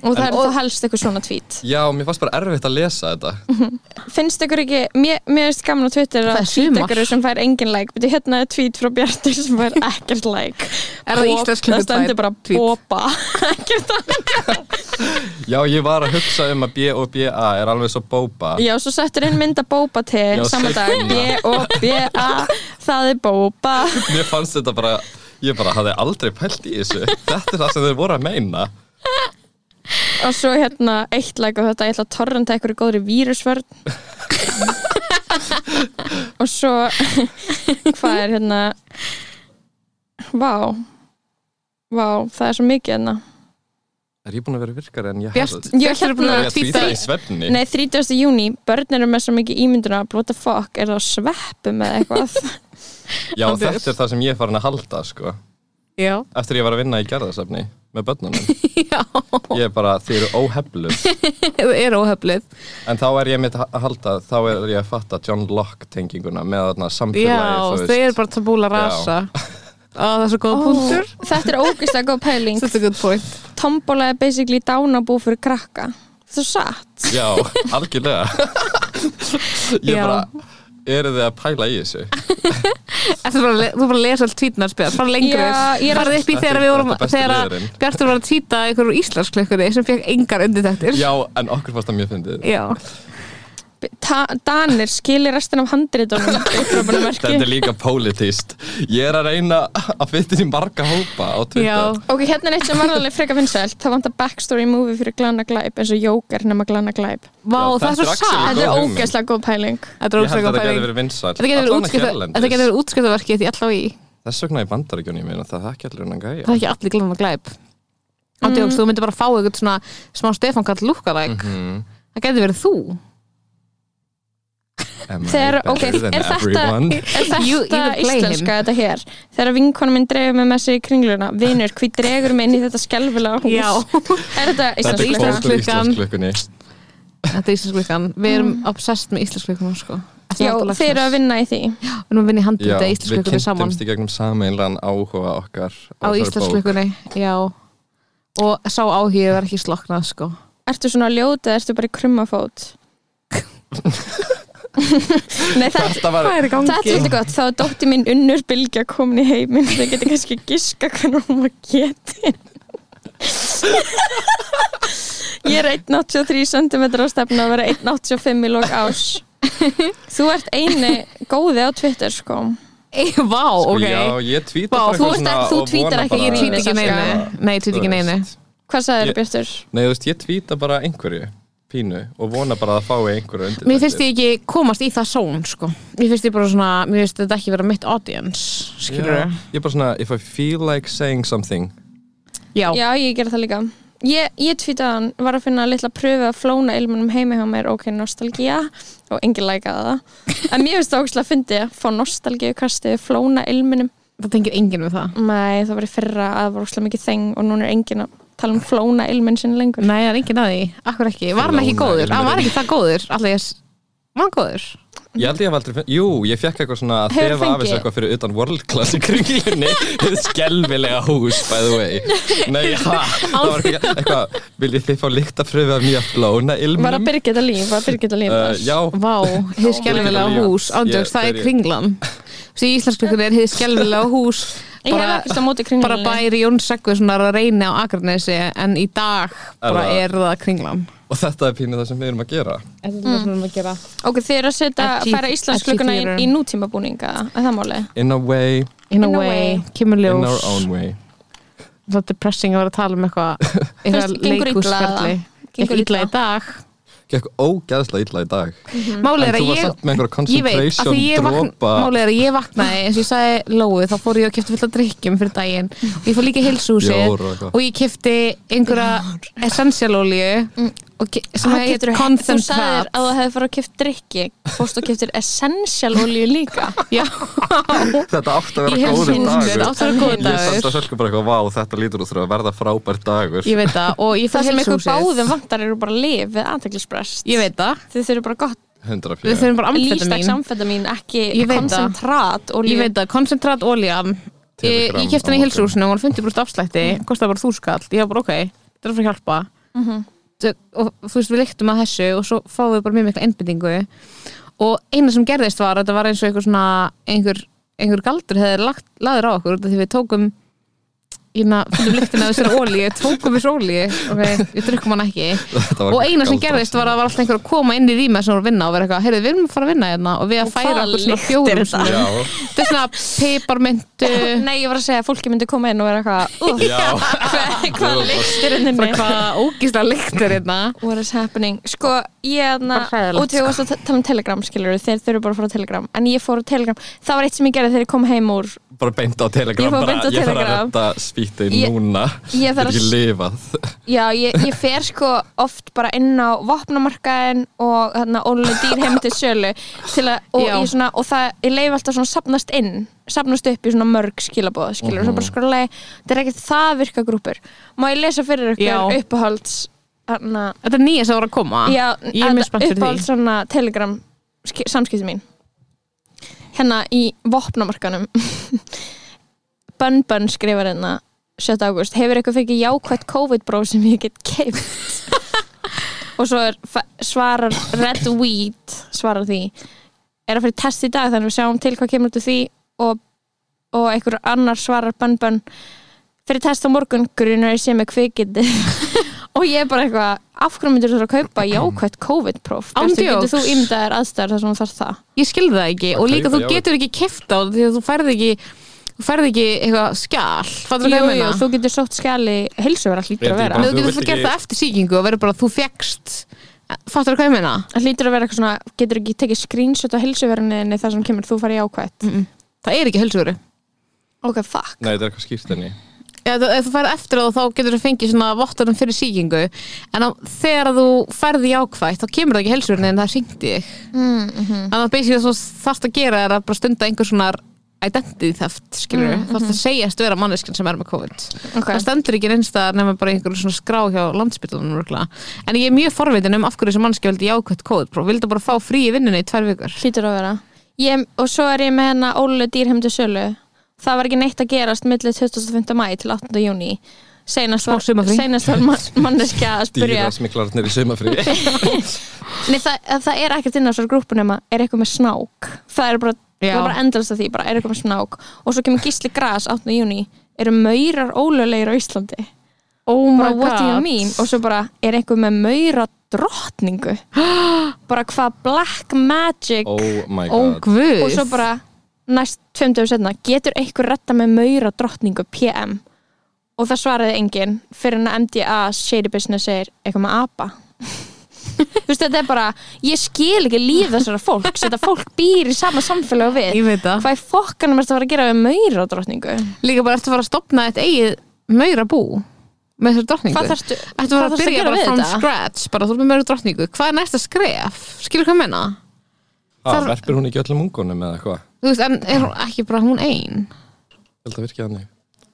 Og það er þá helst eitthvað svona tvít
Já, mér fannst bara erfitt að lesa
(laughs)
þetta
Finnst ykkur ekki, mér, mér finnst gaman á Twitter
Það
að
er
tvít
sumar.
ykkur sem fær engin like Beti hérna er tvít frá Bjartur sem fær ekkert like
Er það íslensk
Það
klukkan
stendur
tvær
bara
tweet?
bopa (laughs) Ekkert að
Já, ég var að hugsa um að B og BA er alveg svo bóba
Já, svo settur inn mynd að bópa til
Já,
Saman dag,
seinna.
B og B A Það er bópa
Mér fannst þetta bara, ég bara hafði aldrei pælt í þessu Þetta er það sem þau voru að meina
Og svo hérna eitt like og þetta Ég ætla að torrenta ykkur í góðri
(laughs)
vírusvörn Og svo Hvað er hérna Vá Vá, það er svo mikið hérna
Er ég búin að vera virkari en ég
Bjart,
hafði
Ég
Bjart er búin
hérna-
að
Er ég
vera
að tvíta
tvíta
í svefni?
Nei, 30. júni, börn eru með svo mikið ímynduna What the fuck, er það á sveppum eða eitthvað
Já,
Hann er-
þetta er það sem ég er farin að halda sko.
Já,
Eftir ég var að vinna í gerðasafni með börnunum
(laughs) já,
Ég er bara, þið eru óheflum
það er óheflið
En þá er ég mitt að halda Þá er ég að fatta John Locke tenginguna Með þarna
Já,
samfélagi
þau eru bara tabúla rasa Á, það er svo góð punktur
Þetta er ógeðslega góð pæling
Þetta er góð (laughs) point
Tombola er basically dánabú fyrir krakka Það er svo satt
Já,
(laughs)
algjörlega Ég
Já.
er bara, eru þið að pæla í þessu?
Eftir bara, að le- Þú bara að lesa allt tvítnar spil Fara lengur
Já, ég er
Farði upp í
Þetta er-
þegar við vorum
þetta er besti
Þegar að
liðurinn.
Bjartur var að tvíta einhverjum íslensklökkunni sem fekk engar undirtæktir
Já, en okkur fannst það mjög fyndið
Já,
Ta Danir skilir restin af
(laughs)
handritunum
Þetta er líka politist Ég er að reyna að fytta í marga hópa á Twitter
já,
Ok, hérna er eitt sem var alveg freka vinsælt Það vantar backstory movie fyrir glana glæp eins og jóker nema glana glæp
vá,
Já,
það er
þetta
svo
er actually
satt
Þetta er
Góð hugmynd.
ógeðslega góð pæling
Þetta er
Ég held
ótrúlega góð
að þetta getur
pæling
verið vinsæl
Þetta getur verið útskipta- þetta getur verið útskiptaverkið í allavega í
Þess vegna í bandaríkjunni, ég meina, það er ekki allir hennan gæja
Það er ekki allir glæma glæp Ándjóks, þú myndir bara fá eitthvað svona smá Stefán Karl lookalike
Mhm.
Það getur verið þú
Am I
Þegar,
better
ok,
than
er þetta,
everyone?
er þetta
You- you would play him.
íslenska þetta hér? Þegar vinkonu minn dregur mig með sig í kringluna, vinur, hví dregur mig inn í þetta skelfilega hús? Er
Þetta
þetta
er
íslenska?
íslenska.
kvótur
Íslenska.
Íslandsklukkunni
Þetta er íslensklukkan Við erum obsessed með íslensklukkan sko. Eftir
Já,
aldur
þeir eru
lagsins.
að vinna í því.
Við erum að vinna í
Já,
handrita
við
íslensklukkan saman
kynntumst í gegnum sameinlegan áhuga okkar
Á íslensklukkunni Já Og sá áhugið var ekki sloknað sko.
Ertu svona ljóta eða ertu bara í krummafót?
(laughs)
Nei, það,
Þetta var,
er í gangi?
það er svolítið gott. Þá er dótti mín unnur bylgja komin í heiminn. Það getur kannski giska hvernig hún var getin. Ég er 1,83 cm á stefna að vera 1,85 í lók ás. Þú ert eini góði á Twitter, sko.
Vá, ok
Sko, já, ég tvítar
Vá,
bara
þú
eitthvað
ert
svona
ekki- þú
og
tweetar
vona
ekki,
bara-
ég
Ég
tweet
týt ekki neinu Nei, ég
Þú
týt ekki neinu
veist.
Hvað sagðið
Ég-
þér, Björtur?
Nei, þú veist, ég tvíta bara einhverju pínu og vona bara að það fái einhverju undir
Mér finnst ég ekki komast í það són sko. Mér finnst ég bara svona Mér finnst þetta ekki vera mitt audience Skilur
Já, Ég er bara svona, if I feel like saying something
Já,
Já, ég gerði það líka Ég, ég tvítaði hann, var að finna litla pröfu að flóna ilmunum heimi hjá mér, ok, nostalgía og enginn lækaði það en mér finnst það ógæslega að fyndi að fá nostalgíu kastið flóna ilmunum
það tengir enginn við það
Nei, það var í fyrra að það var ógæslega mikið þeng og núna er enginn að tala um flóna ilmun sinni lengur
Nei, það er enginn að því, akkur ekki Var hann ekki
Lóna
góður, hann var
ilmurinn.
ekki það góður Alltaf ég, var hann góður
Ég held ég hef aldrei finn, jú, ég fekk eitthvað svona að
Hefur
þefa af þessu
fengið-
eitthvað fyrir utan world class í
(laughs)
kringlunni Hið skelvilega hús, by the way Nei, ha, það var eitthvað, eitthvað Viljið þið fá líkt að pröfu af nýja flóna ilmum?
Var að Birgitta líf, var að Birgitta líf
Uh,
þar?
já,
Vá, hið skelfilega
líka.
hús, ándjóks,
Ég-
það er
þegar ég-
kringlan Þessi í íslensklukkunni er hið
(laughs)
skelfilega hús
Ég hef
bara,
ekkert á móti
bara
kringlunni
bæri Jón Sækvisunar að reyna á Akranesi En í dag bara
það-
er það kringlan
og þetta er pínu það sem við erum að gera
Þetta er það sem við erum að gera
Ok, þið eru að setja,
Edgy-
færa Íslandsklökkuna í,
edgy
í nútíma búninga, er það máli?
In a way,
In a
In a
way,
way.
kemur
in our
ljós
own way
Það er depressing að vera að tala um (laughs) eitthvað Eitthvað
Fyrst gengur illa
leikhúsferli
eða? Gengur
Gengur illa Mhm.
illa?
í dag
Gekk ógæðslega illa í dag
Málið
En
er
þú
að
var
ég
samt með einhverja
Ég veit, af
concentration
því ég vakna,
dropa
málið er að ég vaknaði eins og ég sagði Lóu, þá fór ég og kefti fullt af drikkjum fyrir daginn og ég fór líka í heilsuhúsi
Bjór og eitthvað.
og ég kefti einhverja essential olíu og ke- sem
Ah,
heitir
geturðu- Þú sagðir
concentrat
að þú hefði farið að kipta drikki Fórst og kiptir essential olíu
(laughs)
líka
Já,
Þetta átti að
í
vera góður
heilsuhúsi,
dagur
þetta átti að vera góð
Ég samt
dagur
að sölku bara eitthvað, vá, þetta lítur út þurfa að verða frábær dagur
Ég veit það, og ég fór í
Það sem ykkur
heilsuhúsi
báðum vantar eru bara lif við aðteglisbrest
Ég veit það,
Þið þurfum bara gott
100
við þurfum bara amfetamin
lífstæks amfetamin Ekki
Ég veit það.
koncentrat
Ég
olíu
veit það, koncentrat ólían Ég,
Telegram
eh, ég kefti hann
á
í
morgun.
heilsuhúsinu og hann fundi brúst afslætti
Mhm.
kostaði bara þúskall, ég var bara ok þetta er að fara að hjálpa Þau- og þú veist við lyktum að þessu og svo fáum við bara mjög mikla einbendingu og eina sem gerðist var að þetta var eins og einhver svona einhver, einhver galdur hefði lagt, laður á okkur út af því við tókum ég na, fundum lyktina af þessari ólíu tókum við svo ólíu, ok, við drukkum hann ekki
Þetta var
og eina sem
galdrað.
gerðist var að það var alltaf einhver að koma inn í rýma sem voru að vinna og vera eitthvað, heyrðu við erum að fara að vinna hérna og við að
Og
færa
hvaða
okkur svona
lykt er
fjórum
þetta?
sinnum.
Já,
Þetta er svona piparmyndu
Nei, ég var að segja að fólki myndi koma inn og vera
(laughs)
eitthvað "Ugh,
já
Hvað hvað lyktir inn
Bara
inni
hvað ógísla lyktir hérna
What is happening? Sko, ég aðna,
Bara hræðilegt, sko.
út í og að tala um Telegram skilur þeir þurfu bara að fara á Telegram en ég fór á Telegram, það var eitt sem ég gerði þegar ég kom heim úr
bara beint á Telegram
Ég fór beint á
bara, Ég þarf að
Telegram.
redda svítið
Ég-
núna
ég þarf að-
ekki lifað
Já, ég, ég fer sko oft bara inn á vopnamarkaðin og þarna ólega dýr heim til sölu til að, og,
Já.
ég svona, og það, ég leif alltaf svona sapnast inn sapnast upp í svona mörg skilabóð skilur, mm
Mhm.
-hmm. bara skrúlega, þetta er ekkert það virka grúpur má ég lesa fyrir ykkur
Já.
uppáhalds hérna, hana,
Þetta er nýja sem voru að koma
já,
Ég er
að-
mjög spennt fyrir
uppáhalds
því
svona telegram ski- samskipti mín hérna í vopnamarkanum (laughs) Bönn Bönn skrifar hérna 7. ágúst, hefur eitthvað fengið jákvætt COVID-bróf sem ég get keift (laughs) og svo er, fa- svarar Red Weed svarar því er að fyrir test í dag þannig við sjáum til hvað kemur út úr því og, og einhver annar svarar bönn bönn fyrir test á morgun grunar ég sé með kvikindi (laughs) og ég er bara eitthvað af hverju myndir þú að kaupa jákvætt COVID-próf
Mm. Án
Bjartur, getur þú
djóks.
ímyndaðir aðstæður þar sem þú þarf það
Ég skilði það ekki
Að
og líka
kaupa,
þú
já.
getur ekki kifta á þetta því að þú færði ekki þú færði ekki eitthvað skjál Fattur
jú,
hvað
jú,
ég
þú
meina?
getur sótt skjali hilsuverða hlýtur
Ég held ég
að vera
En þú getur
bara- Þú vilt
þú gert
ekki-
það eftir sýkingu og verður bara að þú fegst Fattur hvað ég meina?
Það hlýtur að vera eitthvað svona, getur ekki tekið screenshot á hilsuverðinni þar sem kemur þú farið jákvætt
Það er ekki helsuguru
ok, fuck
Nei, þetta er eitthvað skýrt enni
Já, ef, þú- ef þú færð eftir á það þá getur þú fengið svona vottunum fyrir sýkingu en á, þegar þú færði jákvætt þá kemur það ekki helsurinn en það syngdi þig
Mm-hmm.
þannig að basically það þú þarft að gera er að bara stunda einhver svona identity theft skilur mm -hmm. þarft að segjast vera manneskinn sem er með COVID
Mm-hmm. Ok.
það stendur ekki einsta nema bara einhver svona skrá hjá landsbytunum rúkla en ég er mjög forvitin um af hverju þessi mannski veldi jákvætt COVID próf, vildi bara fá frí í vinnunni í tvær vikur
hlýtur að vera ég, og svo er ég með hennar Ólu dýrhemdu sölu það var ekki neitt að gerast millir 25. mæ til 8. júni seinast var,
Smá sumarfrí.
seinast var
(laughs)
man- manneskja að spyrja
dýra smiklarnir í sumafrí
(laughs)
sko.
Nei, það, að það er ekkert inn á svo grúpunum að er eitthvað með snák það er bara,
Já.
það er bara endalast að því bara er eitthvað með snák og svo kemur gísli gras 8. júni eru maurar ólulegir á Íslandi
oh
bara what do you mean og svo bara er eitthvað með maura drottningu
(gasps)
bara hvað black magic
oh my
oh
god
guð
og svo bara næst tveim dögum setna getur einhver retta með maura drottningu PM og það svaraði enginn fyrir en að MDA shady business segir eitthvað með apa (laughs) þú veist þetta er bara ég skil ekki líf þessara fólks þetta fólk býr í sama samfélag og
ég
við
veit það
hvað er fokkanum ertu að fara að gera við maura drottningu
líka bara ertu að fara að stopna eitt eigið maura bú með þessari drottningu
hvað þarftu
Ættu bara
hvað
að
þarftu
byrja
gera
bara
við
from
þetta?
scratch bara þú ert með meira drottningu, hvað er næsta skref skilur hvað ég menna?
ah,
þar-
verpir hún ekki öllum ungunum eða hvað
þú veist, en er hún ekki bara hún ein?
Ég held að virki þannig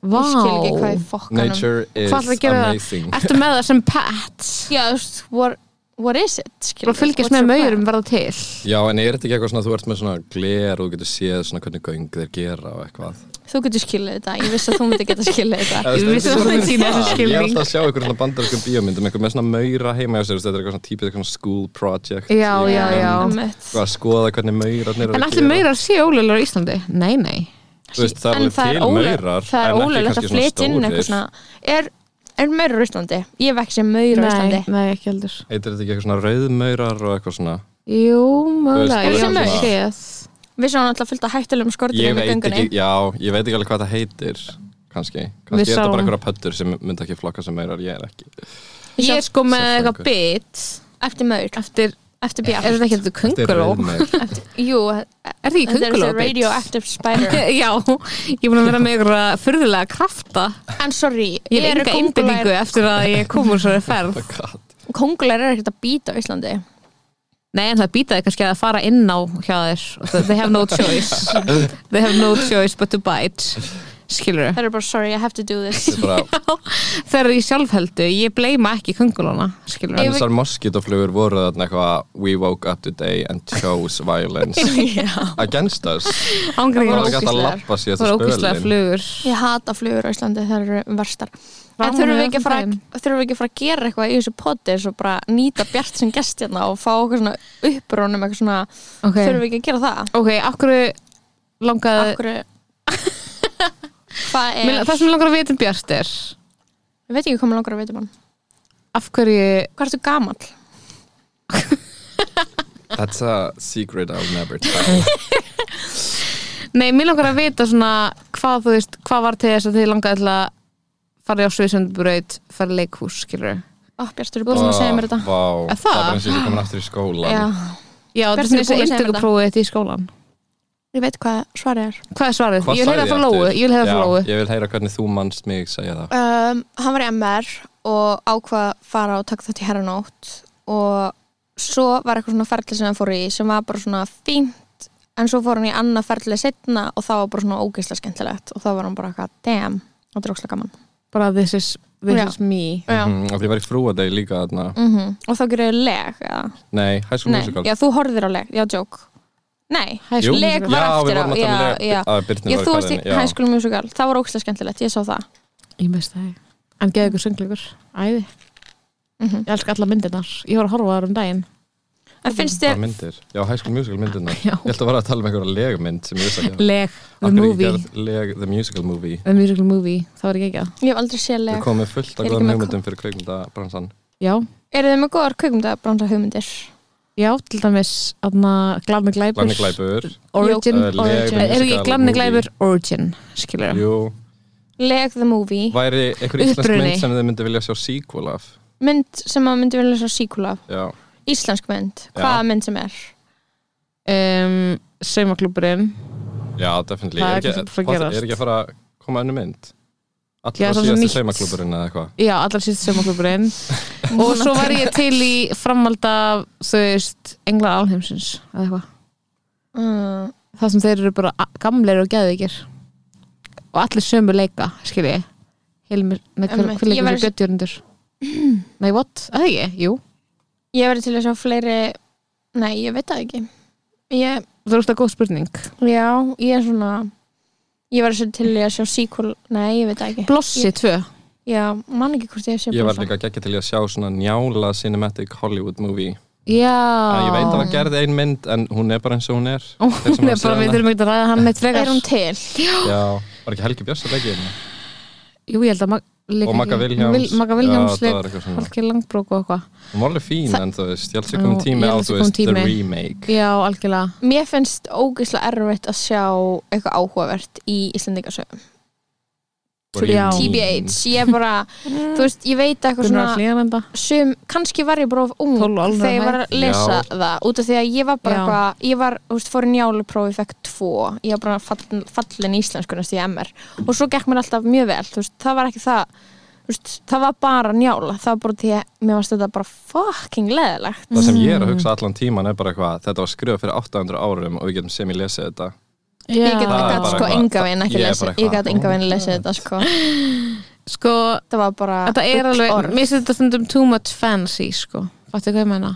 Vá,
ég skil ekki hvað er fokkanum
nature is
hvað ætlar að gera
amazing
það? Ertu með það sem pet?
já þú veist what, what is it skilur
Bara
við?
fylgjast
What's
með
your plan?
maurum verða til
já en er þetta ekki eitthvað svona að þú ert með svona gler og þú getur séð svona hvernig göng þeir gera og eitthvað
þú getur skilið þetta, ég vissi að þú myndi geta skilið þetta
Ég vissi að það sýnir þessu
Ég er
skilning.
alltaf að sjá einhver svona bandarískum bíómyndum einhver með svona maura heima hjá sér þetta er eitthvað svona típið eitthvað svona school project
Já,
í-
já, já.
Einmitt.
eitthvað að skoða hvernig maurarnir eru
En
að
allir
gera.
maurar séu ólega á Íslandi? Nei, nei
Þú veist, það er
en
alveg
það er
til
ólega
maurar
það er
en ekki
ólega að
kannski svona
flytja inn
stórir.
eitthvað svona er, er maurur í Íslandi? ég hef ekki sem maurur í
Nei,
Íslandi
nei, ekki heldur
Heitir þetta ekki eitthvað svona rauðmaurar og eitthvað svona
Jú,
Þú
mögulega, ég
veist,
bara
hef
svona-
ekki séð
við sáum alltaf fullt af hættulegum skortir
Ég
inn í
veit
göngunni
ekki, já, ég veit ekki alveg hvað það heitir Kanski,
Við
kannski er þetta
sáum-
bara einhverja pöttur sem myndi ekki flokka sem maurar, ég er ekki
Ég er sko með
Sérfræðingur.
eitthvað bit
eftir maur,
Eftir,
eftir
er
bjart
þetta ekki eitthvað
Þetta er
kunguló?
rauðmaur.
(laughs) jú, e-
Er þetta ekki
þetta er
kunguló
þessi
bit?
radioactive
(laughs)
spider
Já, ég er búin að vera með ykkur fyrðulega krafta
en sorry,
Ég er enga innbyggingu eftir að ég kom úr svo ferð
Oh my god.
kongular er ekkert að býta á Íslandi
Nei, en það býtaði kannski að fara inn á hjá þér They have no choice They have no choice but to bite Skilur
það eru bara sorry, I have to do
(laughs)
this
Þetta er bara,
(laughs) Þegar ég sjálfheldu, ég bleima ekki kungulóna Skilur
en þessar moskítoflugur voru þarna eitthvað We woke up today and chose
(laughs)
violence Against us
Ángríns
Það var ekki hægt að
ógeðslegar.
lappa sér
Það var
þetta
ókvíslega
spölin
flugur
ég hata flugur á Íslandi, það eru verstar
Var
en
hún
þurfum
í
við, ekki að
öllum
fara,
bæjum?
þurfum við ekki að fara að gera eitthvað í þessu poti eins og bara nýta bjart sem gest hérna og fá okkur svona upprónum eitthvað svona,
Ok,
þurfum við ekki að gera það
ok, akkur langaði
okkur (laughs) hvað er,
Mér- Það sem mig langar að vita um Bjart er
ég veit ekki hvað maður langar að veitum hann
Af hverju
hvað ertu gamall?
That's a secret I'll never
(laughs)
tell
Nei, mér langar að vita svona hvað þú veist, hvað var til þess að þið langaði til að fara á Sviðsundbraut, fara í leikhús, skilur
Ó, Bjartur, þú búin að segja mér
Vá,
þetta
Er það?
Það er bara eins og ég sé komin aftur í skólan
Já,
Já, þetta
Hvert
er svona þessi
er búin að segja mér
inntökuprófið þitt í skólan.
ég veit hvað svarið er
Hvað er svarið?
Hvað
ég vil
sagði
heyra frá
ég
Lóu, ég
aftur?
vil heyra
Já,
frá Lóu.
Ég vil heyra hvernig þú manst mig segja það
um, hann var í MR og ákvað að fara og taka þátt í herranótt og svo var eitthvað svona ferli sem hann fór í sem var bara svona fínt en svo fór hann í annað ferli setna og það var bara svona ógeislega skemmtilegt og þá var hann bara eitthvað, damn, þetta er ógeislega gaman
Bara this is, this
Já.
is me.
Já.
Mhm, Af því ég var í frúadeg líka þarna
mm og þá gerir þau leg eða?
Nei, High School
Nei,
Musical
já, þú horfir á leg, já, joke Nei,
High School
leg
Musical.
var
já,
eftir
við
á
vorum að
já,
tala um
já.
leg- að Birnir
Já,
var
þú
í
varst í
kvæðinu, já.
High School Musical, það var ógeislega skemmtilegt, ég sá það
Ég mest það. En geðu ykkur söngleikur. Æði.
Mhm.
Ég elska alla myndirnar. Ég voru að horfa á þar um daginn.
En finnst
Hvaða
þér,
myndir? Já, High School Musical myndirna
Já.
Ég held að vera að tala um einhverja legmynd sem ég vissi ekki
Leg, the
Af hverju ekki
movie,
gerð Leg, the musical movie
the musical movie. Það var ekki ekki að.
ég hef aldrei séð
Við
leg
komum með fullt
Ég
af
er ekki
góðum
með
hugmyndum fyrir kveikmyndabransan
Já,
Eru þið með góðar kveikmyndabransa hugmyndir?
já, til dæmis, aðna, glanni glæpur.
Glanni glæpur
Origin.
Uh, leg,
Er er ekki
musical
glanni
movie.
glæpur, origin, skilur
Jú,
Leg the Movie
væri einhver íslensk
Uppruni.
mynd sem þið myndi vilja sjá sequel af
mynd sem maður myndi vilja svo síkula af
Já,
íslensk mynd,
Já.
hvaða mynd sem er
um, Saumaklúburinn
já, definitely
Það er
Er ekki,
kannski bara að
hvað-
gerast.
er ekki að fara að koma önnu mynd?
Já,
Allra
svo
síðasti
nýtt.
saumaklúburinn eða eitthvað
Já, allra síðst
(laughs)
sömaklubburinn og svo var ég til í framhald af þú veist, engla alheimsins eða eitthvað,
Mm.
það sem þeir eru bara a- gamlir og geðvíkir og allir sömu leika, skil ég Hilmir, nei, hver,
Einmitt.
hver
Ég
leikur
var-
fyrir Bjöttjörnundur Nei, what? Það ekki, jú
Ég verði til að sjá fleiri Nei, ég veit það ekki ég,
Það er óslega góð spurning
Já, ég er svona Ég verði svo til í að sjá sequel Nei, ég veit það ekki
Blossi 2
Já, man ekki hvort ég sé
Ég var líka geggja til í að sjá svona njála cinematic Hollywood movie
Já
oh. Ég veit að það gerði ein mynd en hún er bara eins og hún er
Ah. Ó, (laughs)
Þeir sem
Hún er
hafa séð
bara,
hana.
við þurfum ekki að ræða hann neitt frekar
Er hún til?
Já, var ekki Helgi Björns að leggja hérna
Jú, ég held að Mag- leika
Og Magga
ekki-
Vilhjáms
Vil- Magga Vilhjáms
Já, það
leik
var eitthvað svona
Halki langbrók og eitthvað
Hún var alveg fín en þú veist, ég held sér komin
Nú,
tími
ég
á
held sé
þú
kominn
veist, the
tími.
remake
Já, algjörlega
Mér finnst ógeðslega erfitt að sjá eitthvað áhugavert í Íslendingasöfum
Voru
Já.
í-
TBH, ég er bara þú veist, ég veit eitthvað
Gunnar
svona
Hlíðarenda
sem, kannski var ég bara of ung
12 álfra
þegar ég var að
hæð.
lesa
Já.
það út af því að ég var bara
Já.
eitthvað, ég var, þú veist, fór í njáluprófi fekk tvo, ég var bara fallin, fallin í íslenskunast í MR og svo gekk mér alltaf mjög vel, þú veist, það var ekki það þú veist, það var bara njála það var bara því að mér varst þetta bara fucking leðilegt
Mm.
Það sem ég er að hugsa allan tíman er bara eitthvað Þetta var skrifað fyrir 800 árum og við getum sem ég lesið þetta
ég get,
Það er
gat
bara
sko
eitthvað-
enga veginn ekki
Ég er
lesa
bara
ég
eitthvað,
gat enga
oh
veginn lesa þetta sko
Sko,
það var bara
þetta er
bull
alveg
Ah, orð.
Mér finnst þetta stundum too much fancy, sko Fattu hvað ég meina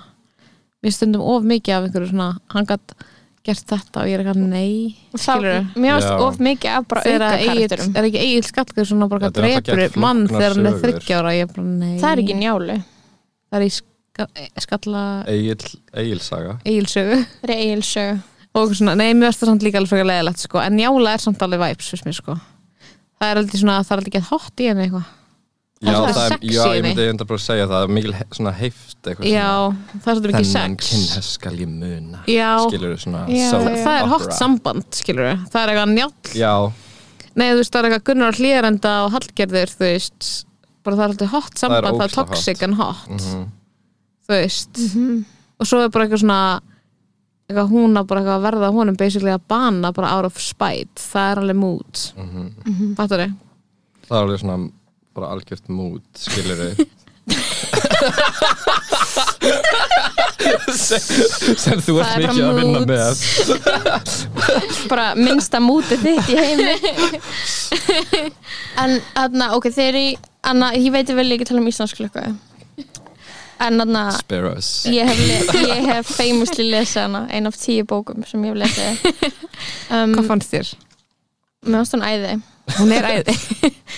Mér finnst stundum of mikið af einhverju svona Hann gat gert þetta og ég er eitthvað nei
það,
Skilur
mér varst
Já.
of mikið af bara
Þegar
auka
Egill-
karakterum
er ekki eigið skallgur svona bara
Þetta er alltaf
drefur
gert
mann
flóknar
þegar hann er
sögur.
þryggjára ég er bara nei
það er ekki njálu,
það er í ska, eh, skalla
Egil, Egil saga
eigilsögu (laughs)
það er eigilsög
og eitthvað svona, nei, mér finnst það samt líka alveg frekar leðilegt sko. en njála er samt alveg væps fyrst mér sko það er aldrei svona, það er aldrei gett hot í henni eitthvað
Já,
Það er
það er,
sexy
já,
í
ég
því.
myndi enda bara að segja það það er mikil he- svona heift eitthvað
já,
svona,
það er svolítið mikið
Þennan
sex
kynnes skal ég muna
já,
Skilur þú svona
Já,
soap
það, það er hot
opera.
samband, skilur það er eitthvað njáll,
Já,
nei þú veist, það er eitthvað Gunnar Hlýðarenda og Hallgerður, þú veist bara það er aldrei hot samband, það er,
ógeðslega hot.
toxic en hot
mhm.
þú veist
Mhm.
og svo er bara eitthvað svona eitthvað hún að bara eitthvað að verða honum basically að bana bara out of spite það er alveg mút mm
Mhm.
Mhm.
-hmm. fattur þið?
það er alveg svona bara algjört mút, skilur
(laughs)
þú sem, sem þú ert
Það er bara
mikið að vinna
mood.
með
bara minnsta mútið þitt í heimi en þarna, ok, þeir eru í anna, ég veit vel ekki tala um íslensk klukku en þarna
Sparrows
ég hef, le- ég hef famously lesið hana ein af tíu bókum sem ég hef lesið um,
hvað fannst þér?
mér finnst hún æði
hún er æði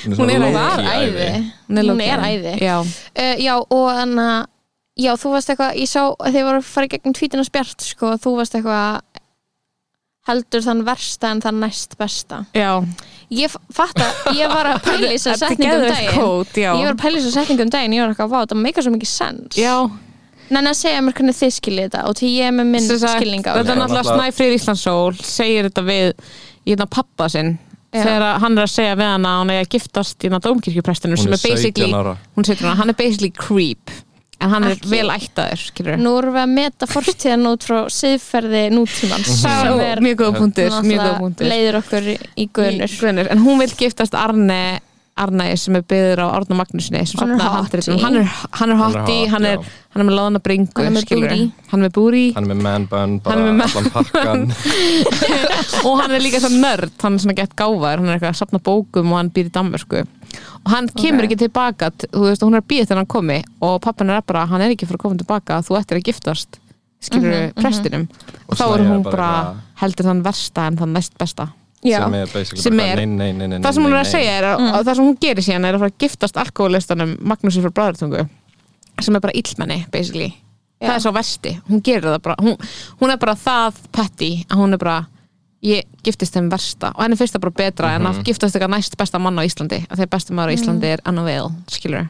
svona
Hún er
low-key
var æði, hún
low-key
er æði
já,
uh, já, og þannig að já, þú varst eitthvað, ég sá að þið voru að fara í gegnum tvítina spjart, sko, þú varst eitthvað heldur þann versta en þann næst besta
já.
Ég f- fatta, ég var að pæla í
(laughs)
þessu setningum
geðveikt
um daginn
quote, já.
Ég var að pæla í þessu setningum daginn Ég var eitthvað, vá, það meikar svo mikið sens
já,
Nenna að segja mér hvernig þið skiljið þetta Og því ég er með minn
sem sagt,
skilning á
þetta er
Já,
náttúrulega
náttúrulega-
Snæfríð Íslandsól segir þetta við í þetta pappa sinn
Já.
þegar að hann er að segja við hana að hún er að giftast í þetta dómkirkjuprestinum
Hún
sem
er
er basically
17 ára.
hún setur hana, hann er basically creep en hann er
Ekki.
vel ættaður skilur
Nú erum við að meta fortíðan út frá siðferði nútímans
Mhm. Sá,
sem er
mjög góða punktur, mjög góða
náttúrulega
punktur
leiðir okkur í- í guðnur
Gunnur, en hún vil giftast Arne Arnæði sem er byður á Árna Magnúsinni sem
Hann
safnaði
er hottie.
handritum hann er, hann er
Hann er
hotti,
hot,
hann, er-
já.
hann er með láðan að bringu
Hann er með
skilurðu.
booty.
hann er með búri
hann er með man bun,
Hann
bara
er með man
allan
(laughs)
pakkan
og hann er líka svo nörd, hann er svona gett gáfaður hann er eitthvað að safna bókum og hann býr í Danmarku og hann kemur ekki tilbaka t- þú veist, og hún er að býja þegar hann komi og pappin er bara, hann er ekki fyrir að koma tilbaka þú ættir að giftast, skilur prestinum
Mhm, Og
þá
Snæja
er
er
hún
bara
bara
eitthvað-
heldur þann versta en þann næst besta
sem er basically
Sem
bara
er-
nei, nei, nei, nei,
það sem hún
nei,
er að
nei.
segja er að,
Mm.
að það sem hún gerir síðan er að fara að giftast alkoholistanum Magnúsi frá Bræðartungu sem er bara illmenni basically það er svo versti, hún gerir það bara hún, hún er bara það petty að hún er bara, ég giftist þeim versta og henni finnst það bara betra en
Mhm.
að giftast eitthvað næst besta mann á Íslandi að þeir besta
Mhm.
maður á Íslandi er Anna Veil, skilur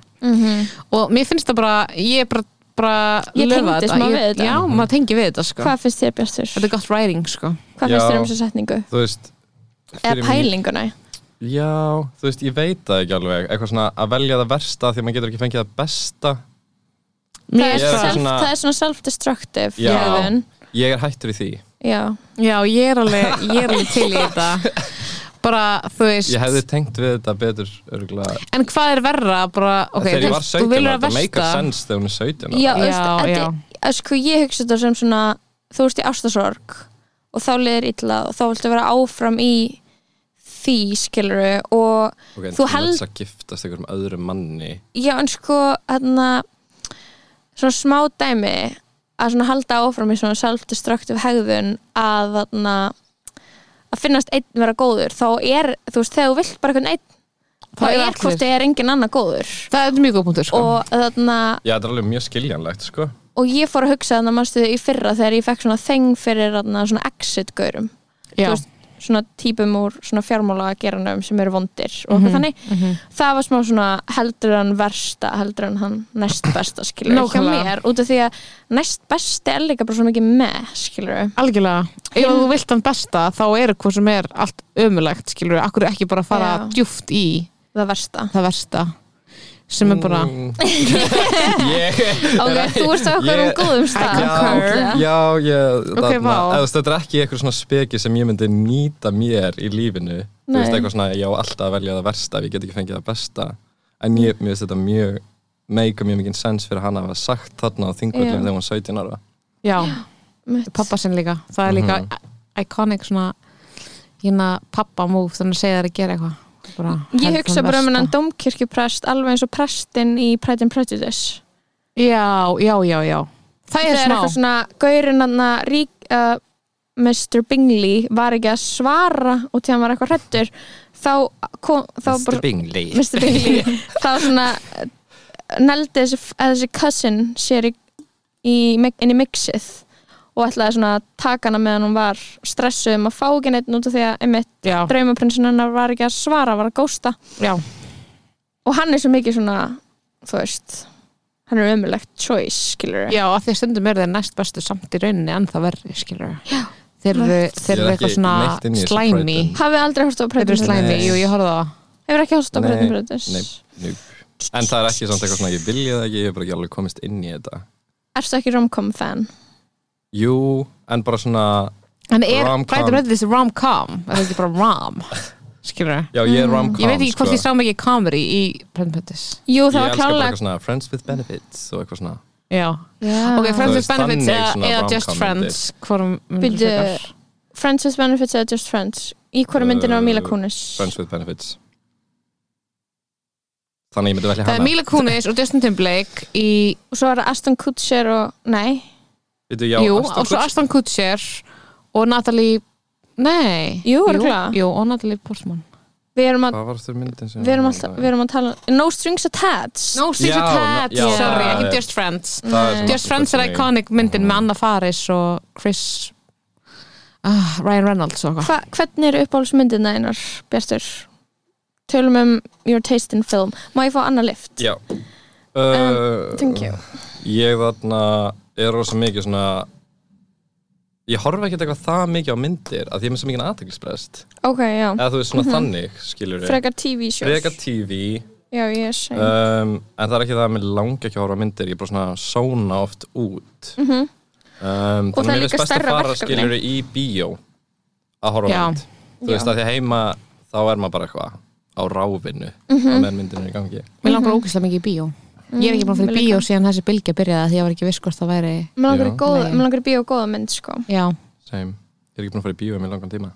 og mér finnst það bara, ég er bara, bara
Ég
löfa
tengdi smá
Ég-
við þetta.
já, maður tengi við þetta sko
Hvað finnst þér Bjartur?
þetta er gott writing sko
Já.
Hvað finnst þér um þessu setningu?
þú veist fyrir
Eða
mér-
pælinguna?
já, þú veist, ég veit það ekki alveg eitthvað svona að velja það versta því að maður getur ekki fengið það besta
Það
Mér
er,
Ég er
self,
svona-
það er svona self-destructive
Já.
hegðun.
ég er hættur í því
Já. (laughs)
Já, ég er alveg, ég er alveg til í þetta bara, þú veist
Ég hefði tengt við þetta betur örgulega
en hvað er verra, bara, ok
Þegar ég
þú
var
veist,
17
þú vilur
ára,
að
þetta make
versta
a sense þegar hún er 17 ára.
já,
Já,
já,
já.
já. Sko, ég hugsa þetta sem svona þú veist í ástasorg og þá liðir illa og þá viltu vera áfram í því skiluru og
Ok, en
þú
til
held-
þess að giftast einhverjum öðrum manni
já en sko hérna svona smá dæmi að svona halda áfram í svona self-destructive hegðun að þarna að finnast einn vera góður þá er, þú veist, þegar þú vilt bara einhvern einn þá
Það eru
er
allir.
hvort þið er engin annar góður
það er mjög góð punktur, sko
og hérna, þarna
Já, þetta er alveg mjög skiljanlegt, sko
og ég fór að hugsa þannig að mannstu í fyrra þegar ég fekk svona þeng fyrir þarna svona exit-gaurum
já,
þú veist, svona típum úr svona fjármála geranum sem eru vondir og
Mhm,
mm þannig, það var smá svona heldur hann versta, heldur hann hann næst besta skilur hjá
Nákvæmlega.
mér út af því að næst besti er líka bara svo mikið með skilur
algjörlega ef þú vilt hann besta, þá er hvað sem er allt ömulegt, skilur við, akkur ekki bara fara
Já.
djúft í
það
(laughs)
versta
það versta sem er bara
Mm. Ég
ok, þú veist á okkur um
Ég-
I
góðum stað
concur.
Já, já, ég,
Ok,
þarna,
vá.
eða, þú veist, þetta er ekki eitthvað svona speki sem ég myndi nýta mér í lífinu þú
Nei.
veist eitthvað svona, ég á alltaf að velja það versta ef ég get ekki fengið það besta en ég, mér finnst þetta mjög meika mjög mikið sens fyrir hann að hafa sagt þarna á þingvöldum
Já.
þegar hún var 17 ára
já,
Mitt.
pappa sinn líka það er líka
Mhm.
iconic svona hérna pappa move þannig að segja þær að gera eitthvað bara,
ég
heldur
hugsa
hann
bara um
versta.
hennan domkirkjuprest alveg eins og prestin í Pride and Prejudice
já, já, já, já það er
það er
smá
eitthvað svona gaurinn hann rík uh, Mr. Bingley var ekki að svara og til hann var eitthvað hrettur þá kom þá bara,
Bingley
Mr. Bingley þá svona eh, neldi þessi, eða þessi cousin sér í, í, mi- inn í mixið og ætlaði svona að taka hana meðan hún var stressuð um að fá ekki neitt út af því að einmitt
já,
draumaprinsin hennar var ekki að svara, var að gósta
já,
og hann er svo mikið svona þú veist, hann er ömulegt choice, skilur
já, að því að stundum eru þeir næst bestu samt í rauninni en það verri, skilur já, þeir eru,
Ég
þeir eru
er
eitthvað
ekki neitt inn í
svona
þessu
slæmi
Pride-um.
hafið þið aldrei hort á
þeir eru
prætum
slæmi,
Nei.
jú, ég horfði á það
Hefur ekki hálst á
Nei,
Brettin Brutus?
nei, nei. en það er ekki samt eitthvað svona, ég vilja það ekki ég hef bara ekki alveg komist inn í þetta
Erstu ekki romcom fan?
jú, en bara svona
en er,
Rom-com.
prætum öll þessi rom-com er það ekki bara rom, skilur
já, ég er rom-com
Mm, ég veit ekki hvort
sko.
ég sá mikið comedy í Pride Pöndis
Jú,
Ég
það var
elska bara
klálega
eitthvað svona friends with benefits og eitthvað svona
já, Ok, Friends
Þú
with
veist,
Benefits
þannig
eða,
svona
eða Just
rom-com
Friends Hvorum myndir
Bíddu.
frekar?
Friends with Benefits eða Just Friends Í hverju myndinu var Mila Kunis?
Uh, friends with benefits þannig ég myndi velja
Það er
hana
Mila Kunis og Justin Timberlake í,
Og svo var Aston Kutcher og... Nei
Veitu, já,
jú,
Ashton
og svo
Kutcher.
Aston Kutcher og Natalie Nei,
Jú, örugglega.
jú, og Natalie Portman
Við erum að,
Hvað var þau myndin sem
við erum alltaf, við erum að tala No Strings Attached
No, Stitch
Já,
Attached,
já,
sorry,
það
ekki
er- Mm.
Just Friends
Það er svona
Just Friends er
Kutcher.
iconic myndin með Anna Faris og Chris ah, Ryan Reynolds og eitthvað
Hva, Hvernig eru uppáhaldsmyndina einar, Bjartur? Tölum um Your Taste in Film Má ég fá annað lift?
Já
Um,
uh,
Thank you
Ég þarna er rosa mikið svona Ég horfa ekki eitthvað það mikið á myndir að því ég er með svo mikið aðteglisbrest
Ok, já
eða þú veist
Mhm.
svona þannig, skilur við
Frekar TV shows
Freka TV
Já, ég er sæn
um, en það er ekki það að mér langi ekki að horfa á myndir ég er bara svona sóna oft út mm um,
Mhm. Og
þannig að
það er
mér
líka
finnst best að
stærra
fara
verkefni.
skilur í bíó að horfa
Já.
á mynd þú veist að því heima þá er maður bara eitthvað á ráfinu mm
Mhm.
-hmm. meðan myndin er í gangi
Mér langar ógeðslega mikið í bíó
Mm.
Ég er ekki bara fyrir
mér
bíó síðan þessi bylgja byrjaði því ég var ekki viss hvort það væri
Mér langar í
Já.
góða-
Nei.
mig langar í bíó og góða mynd, sko
Já,
Same. ég er ekki búin að fara í bíó með langan tíma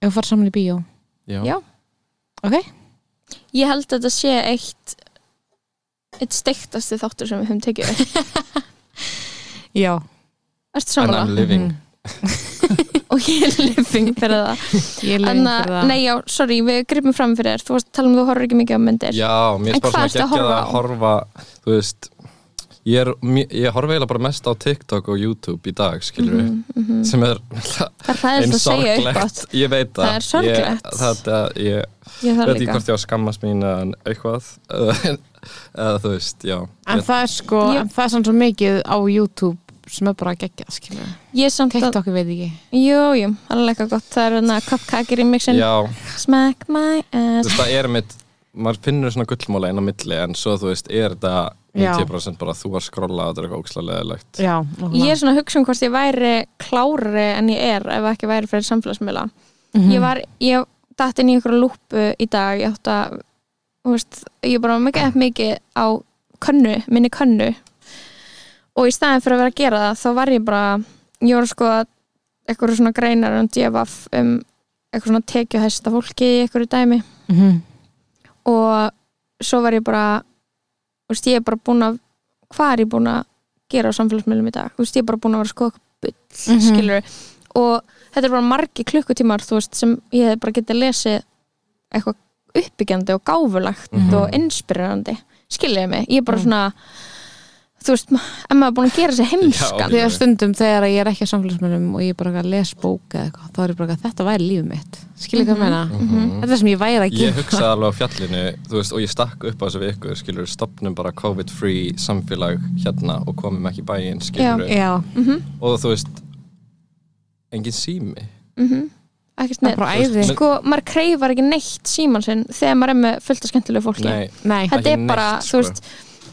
ef við farum saman í bíó
já,
Já
Ok,
Ég held að þetta sé eitt eitt steiktasti þáttur sem við höfum tekið
(laughs)
upp.
já, Mhm.
Ertu
en I'm
samanlega?
living
(laughs) Og ég er living fyrir
(laughs)
það.
ég
En
leiðin
að,
fyrir það
nei já, sorry, við gripum fram fyrir þér. Þú varst að tala um að þú horfur ekki mikið á myndir.
já, mér
En
er bara
hvað
svona
ertu að
geggjað
horfa
að
á?
horfa þú veist ég, er, mj- ég horfa eiginlega bara mest á TikTok og YouTube í dag skilur við
Mhm,
sem er
Það er hræðist
eins
að segja upp átt.
sorglegt ég veit það
Það er sorglegt.
ég, það, ég,
Ég
Ég
þarf
veit ekki
líka.
hvort ég á að skammast mín en eitthvað (laughs) eða þú veist, já
En það er sko,
Ég-
en það er samt svo mikið á YouTube sem er bara geggjað, skilur við.
Ég samt að,
TikTok ég veit ekki
jú, jú, alveg eitthvað gott. Það er þarna cupcake remixin.
Já,
Smack my
þú
ass.
veist, það er mitt maður finnur svona gullmóla inn á milli en svo þú veist, er þetta
Já.
90% bara þú að skrolla og þetta er eitthvað ókslega leðilegt
Já,
Ég er svona að hugsa um
Mhm.
hvort ég væri klárari en ég er ef ekki væri fyrir samfélagsmiðla. Ég var, ég datt inn í einhverja lúpu í dag ég átti að þú veist, ég bara var mikið epp mikið á könnu, minni könnu og í staðin fyrir að vera að gera það þá var ég bara, ég var sko eitthvað svona greinar um djefaf um eitthvað svona tekjuhæsta fólki í eitthvað dæmi
Mhm.
og svo var ég bara þú veist, ég er bara búin að hvað er ég búin að gera á samfélagsmiðlum í dag þú veist, ég er bara búin að vera sko eitthvað bull mm
Mhm.
og þetta er bara margi klukkutímar þú veist, sem ég hef bara getið lesið eitthvað uppbyggjandi og gáfulegt
Mhm.
og inspirerandi skiljiði mig, ég er bara
Mm.
svona þú veist, ma- ef maður er búin að gera sér heimskan
Já.
Þegar stundum þegar ég er ekki á samfélagsmyndum og ég er bara eitthvað að les bóka eða eitthvað, þá er ég bara að þetta væri lífið mitt. Skilja
Mhm.
hvað ég meina? Þetta er sem ég væri að
Ég
gera.
hugsaði alveg á fjallinu þú veist, og ég stakk upp á þessu við ykkur skilur, stopnum bara COVID-free samfélag hérna og komum ekki í bæinn skilur,
Já,
og þú veist engin sími
Mhm. ekkert
það er
neitt
bara æði.
Þú veist,
sko, maður kreifar ekki neitt síman sinn þegar maður er með fullt af skemmtilegu fólki
Nei,
Nei,
þetta
Ekki
er bara,
neitt, sko.
þú veist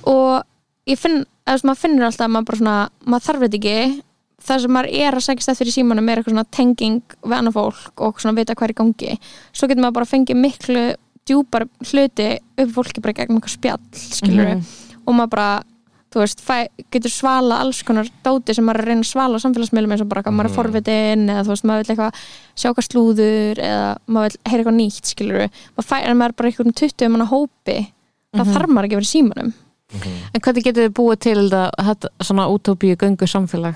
og ég finn, eða þú veist, maður finnur alltaf að maður bara svona, maður þarf þetta ekki það sem maður er að sækist eftir í símanum er eitthvað svona tenging við annað fólk og svona vita hvað er í gangi svo getur maður bara fengið miklu djúpar hluti upp í fólki bara í gegnum eitthvað spjall, skilur
Mhm.
og maður bara, þú veist, fæ, getur svala alls konar dóti sem maður er að reyna að svala á samfélagsmiðlum eins og bara hvað maður er
Mhm.
forvitin eða þú veist, maður vil eitthvað sjá hvað slúður eða maður vil heyra eitthvað nýtt, skilur maður fæ, en maður er bara í einhverjum 20 manna hópi það þarf maður ekki að vera í símanum
en hvernig getur þið búið til þetta, þetta svona útópíu göngu samfélag?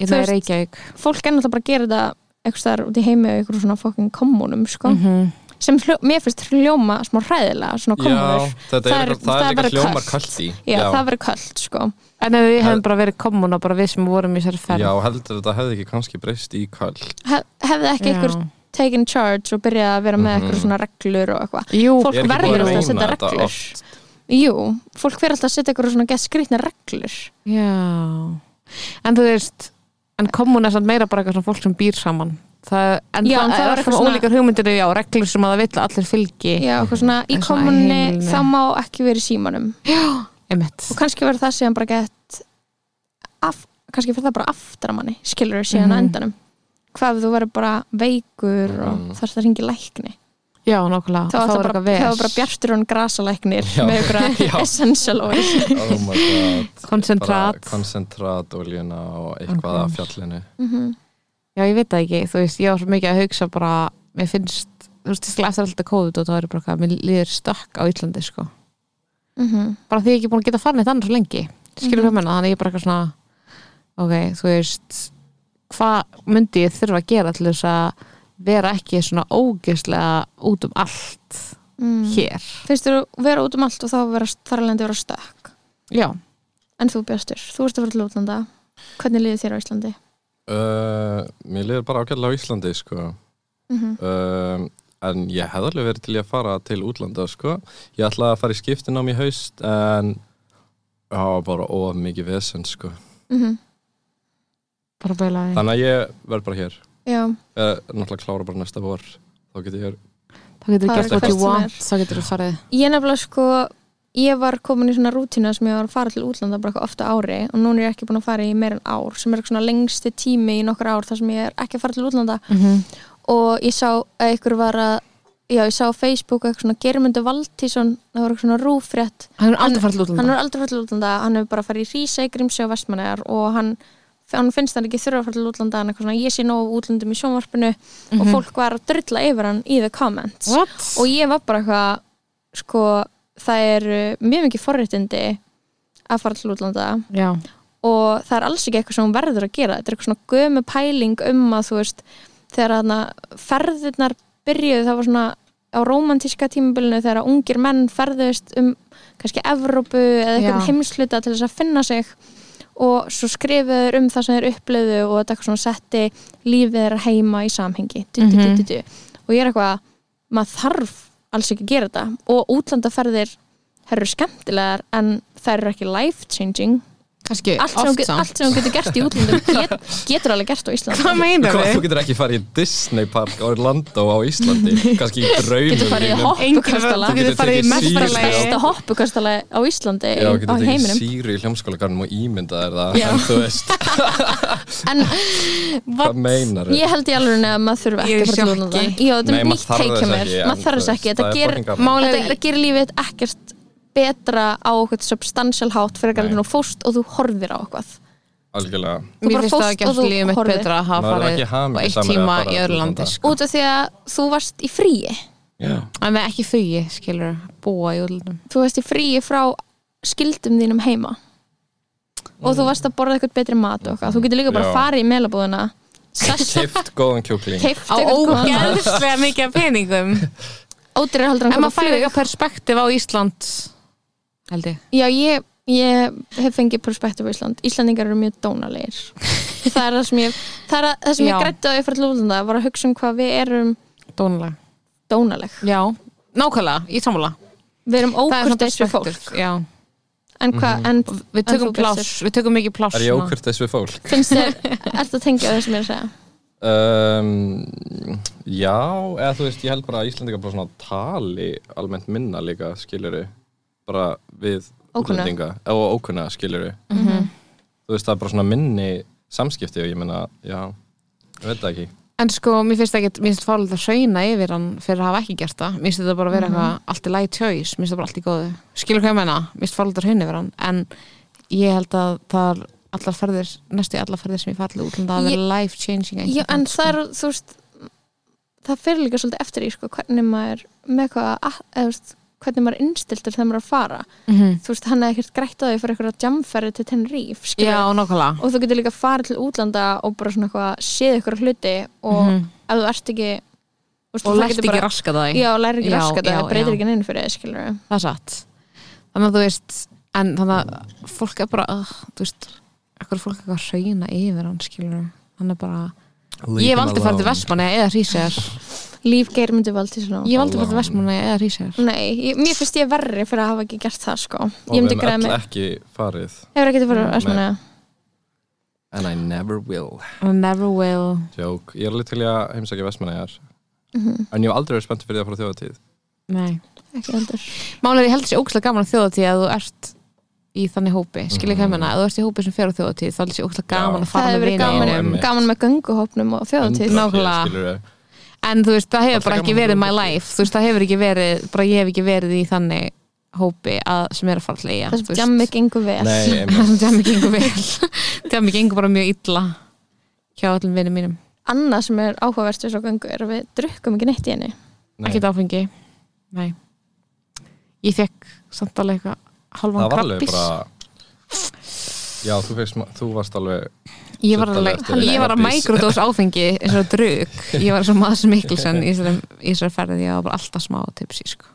Ég
Þú
það er
veist-
Reykjavík.
fólk er náttúrulega bara að gera þetta eitthvað staðar út í heimi og eitthvað svona fokkin kommunum sko.
Mhm.
sem hljó, mér finnst hljóma smá hræðilega svona
já,
kommunur
þetta
Það
er,
er-
er, það
það
er líka
verður
hljómar
kalt.
kallt í
já, það verður kallt sko.
En ef við hefum bara verið komuna, bara við sem vorum í þessari ferð.
já, heldur þetta hefði ekki kannski breyst í kallt
Hef, hefði ekki
Já.
einhver taken charge og byrjað að vera með
Mhm.
eitthvað svona reglur og eitthvað
Jú,
fólk
Er ekki búið
verður
að
alltaf að
reyna
setja
þetta
reglur
oft?
jú, fólk verður alltaf að setja eitthvað svona gett skrýtna reglur
Já, en þú veist en kommun er samt meira bara eitthvað svona fólk sem býr saman það, en
Já,
það,
það
það er
var eitthvað
svona
svona-
ólíkar hugmyndir já, reglur sem að það vill að allir fylgi
já, eitthvað svona í
En svona
kommunni
heimili.
það má ekki vera í símanum
einmitt,
og kannski verður það síðan bara gett af, kannski fyrir það bara aftur að manni skilur síðan á
Mhm.
endanum hvað ef þú verður bara veikur
Mhm.
og þarfst að ringi lækni
já, nákvæmlega
þá er
Og er
það bara,
eitthvað
þá er
ves.
bara bjartur hún grasalæknir
Já.
með
(laughs) Já.
ykkur essential oil
(laughs) oh my
(laughs)
god
Koncentrat.
Bara koncentrat, oljuna og
Ok.
eitthvað af fjallinu
já, ég veit það ekki, þú veist, ég var svo mikið að hugsa bara, mér finnst þú veist, ég eftir alltaf COVID og það er bara eitthvað mér líður stökk á Íslandi, sko
Mhm.
bara því ég er ekki búin að geta farið þannig svo lengi skilur hvað menna, þannig ég er bara eitthvað svona ok, þú veist hvað myndi ég þurfa að gera til þess að vera ekki svona ógeðslega út um allt
mm.
hér
finnst þú vera út um allt og þá vera, þar alveg að vera stökk
já,
en þú bjartur, þú ert að vera til útlanda hvernig liðið þér á Íslandi?
uh, Mér liður bara ágæðlega á Íslandi sko
Mhm.
um, en ég hefði alveg verið til í að fara til útlanda sko. ég ætlaði að fara í skiptinám í haust en það var bara of mikið vesen sko.
Mhm.
bara bælaði
þannig að ég verð bara hér
já,
eh, náttúrulega klára bara næsta vor þá getur ég
þá getur þú
Það er
gert what
hvert
you
sem
want,
er.
þá getur þú farið
ég nefnilega sko ég var komin í svona rútínu sem ég var að fara til útlanda bara eitthvað ofta ári og núna er ég ekki búin að fara í meir en ár sem er eitthvað svona lengsti tími í nokkur ár þar sem ég er ekki að fara til útlanda
Mhm.
og ég sá að ykkur var að já, ég sá á Facebook eitthvað svona Germundur Valtísson, það var eitthvað svona rúfrétt
hann er aldrei farið til
hann
útlanda
er aldrei farið til útlanda, hann hefur bara farið í Rísei, Grímsei og Vestmannegar og hann, hann finnst hann ekki þurfa að fara til útlanda hann er eitthvað svona, ég sé nóg af útlöndum í sjónvarpinu og fólk var að drulla yfir hann í the comments
what?
og ég var bara eitthvað sko, það er mjög mikið forréttindi að fara til útlanda
já,
og það er alls ekki eitthvað sem hún verður að gera þetta er eitthvað svona gömu pæling um að þú veist, þegar þarna ferðirnar byrjuðu, það var svona á romantíska tímabilinu þegar að ungir menn ferðuðist um kannski Evrópu eða eitthvað
Já.
heimsluta til þess að finna sig og svo skrifuðu þeir um það sem þeir upplöðu og þetta eitthvað svona setti lífið þeirra heima í samhengi du, du, du, du, du. og ég er eitthvað maður þarf alls ekki að gera þetta og útlandaferðir þær eru skemmtilegar en þær eru ekki life changing
kannski
allt sem, hún
oft
get,
samt
allt sem hún getur gert í
(laughs)
útlöndum get, getur alveg gert á Íslandi
Hvað meinar
Hvað, (laughs) þú
þau?
getur ekki farið í Disney Park Orlando á Íslandi,
(laughs)
kannski í draumum
getur farið í
þínum.
hoppukastala
Þú getur
Þú getur
farið í
tekið
bara
síðasta-
mestaralagi
besta hoppukastala á Íslandi
Já,
á
getur tekið
heiminum
síri í hljómskólagarnum og ímyndað er það,
Já.
en þú veist,
(laughs) en
hvað meinar
ég held í alveg að maður þurfi
Ég er
ekki
í
að fara til útlanda
sjokki.
já, þetta
Nei,
er
maður
nýtt
þarf þess
teikja mér
ekki, en
maður
þú
þarf þess
veist,
ekki,
það
þetta
er
gerir
fucking gaman.
málið
Þetta-
þetta gerir lífið ekkert betra á eitthvað substantial hátt fyrir
Nei.
að þú fóst og þú horfir á eitthvað
Algjörlega,
Þú
Mér
bara
finnst það
fórst
ekki
og
alltaf
þú
lífið mitt
horfðir.
betra að hafa
Maður er
farið
ekki
og eitt
hamingjusamari að
tíma
fara
í
til
öðru
útlanda.
landi sko.
út af því að þú varst í fríi
já,
En við ekki þau, skilur, búa í útlundum
þú varst í fríi frá skildum þínum heima og þú varst að borða eitthvað betri mat og eitthvað þú getur líka bara
Já.
að fara í meilabúðina sessa,
kift góðan kjúkling
keift
Á ógæðslega mikið af (laughs) peningum
ódýri heldur
En
en
maður fær eitthvað perspektíf á Ísland held ég
já, ég, ég hef fengið perspektíf á Ísland Íslandingar eru mjög dónalegir
(laughs)
það er það sem ég það, er, að- það sem
Já.
ég grætti á ég fyrir lúlunda var að hugsa um hvað við erum
Dónulega
dónaleg
Já, nákvæmlega, í sammála
við erum
Það er svona
ókurteis við
perspektíf,
fólk
Já,
en hvað, en
við
En
tökum
þú,
pláss,
Bjössi?
við tökum mikið pláss
Er ég
svona.
ókurt þess við fólk?
finnst
(laughs)
þér, ert að tengja það sem ég er að segja
Um, já, eða þú veist, ég held bara að Íslandingar bara svona tali almennt minna líka, skiljuru bara við
Ókunna. Mhm.
útlendinga og ókunna, skiljuru þú veist, það er bara svona minni samskipti og ég meina, já, ég veit það ekki
En sko, mér finnst ekki, mér finnst fárlega að sauna yfir hann fyrir að hafa ekki gert það. Mér finnst þetta bara að vera
Mhm.
eitthvað allt í lægi tjóis, mér finnst það bara allt í góðu. Skilur hvað ég menna, mér finnst fárlega að sauna yfir hann, en ég held að það er allar ferðir, næstu í allar ferðir sem ég fara til útlanda að
Ég-
vera life changing.
Já, en
sko.
það er, þú veist það fyrir líka svolítið eftir í sko, hvernig maður með hvað, að- eða, þú veist, hvernig maður er innstiltur þegar maður er að fara
mm -hmm.
þú veist, hann hefði ekkert grætt á því fyrir eitthvað jamferði til Tenerife, skilur
Já, nákvæmlega.
og þú getur líka farið til útlanda og bara svona eitthvað, séð eitthvað hluti og
Mhm.
ef þú ert ekki þú veist,
Og
það
lært
getur
ekki raska það í.
Já, læri ekki
Já,
raskat
já,
það, breytir
já.
ekki neinn fyrir þið, skilur
það er satt þannig að þú veist en þannig að fólk er bara uh, þú veist, ekkur er fólk eitthvað að hrauna yfir hann skilur, hann er bara ég hef aldrei farið til Vestmanni eða Rísar
Líf geir myndi valdi svona
ég hef aldrei farið til
Alone.
Vestmanni eða Rísar
Nei, ég, mér finnst ég verri fyrir að hafa ekki gert það, sko
og
Ég
við Mm,
myndi
hefum
græða
öll
mig
ekki farið
Hefur ekki farið að svona
and I never will
I never will
Jók, ég er alveg til í að heimsækja vestmannegar
Mhm.
en ég hef aldrei verið spennt fyrir því að fara á þjóðatíð
Nei.
Ekki heldur
málega ég held þessi ókslega gaman að þjóðatíð að þú ert í þannig hópi, skilur ekki
Mhm.
mm. hæmina að þú ert í hópi sem fer á þjóðatíð þá er þessi ókslega gaman
Já.
að
það
fara
hefur
með
verið
vinum. Já,
gaman, um-
einmitt.
gaman með gönguhopnum og þjóðatíð
Undra. nákvæmlega.
skilurðu.
en þú veist, það hefur
Alltaf
bara ekki
gaman að
verið
fara
my
út.
life, þú veist, það hefur ekki verið bara ég hef ekki verið í þannig hópi að, sem er að fara til eiga
það sem
(laughs)
jammið gengur vel
Nei, einmitt.
það er mikið gengur vel (laughs) það er mikið gengur bara mjög illa hjá öllum vinnum mínum
(laughs) annað sem er áhugavert við svo göngu er að við drukkum ekki neitt í henni
Nei,
ekkert áfengi nei ég fekk samt alveg eitthvað
það
halvan
var alveg
krabbis
bara já, þú, fegst, þú varst alveg
ég var,
Samt alveg
alveg,
eftir einu
ég var að
krabbís.
mikrodós áfengi eins og
(laughs)
drug, ég var svo maður sem Mikkelsen í þessari- í þessari ferði, ég var bara alltaf smá tipsi sko.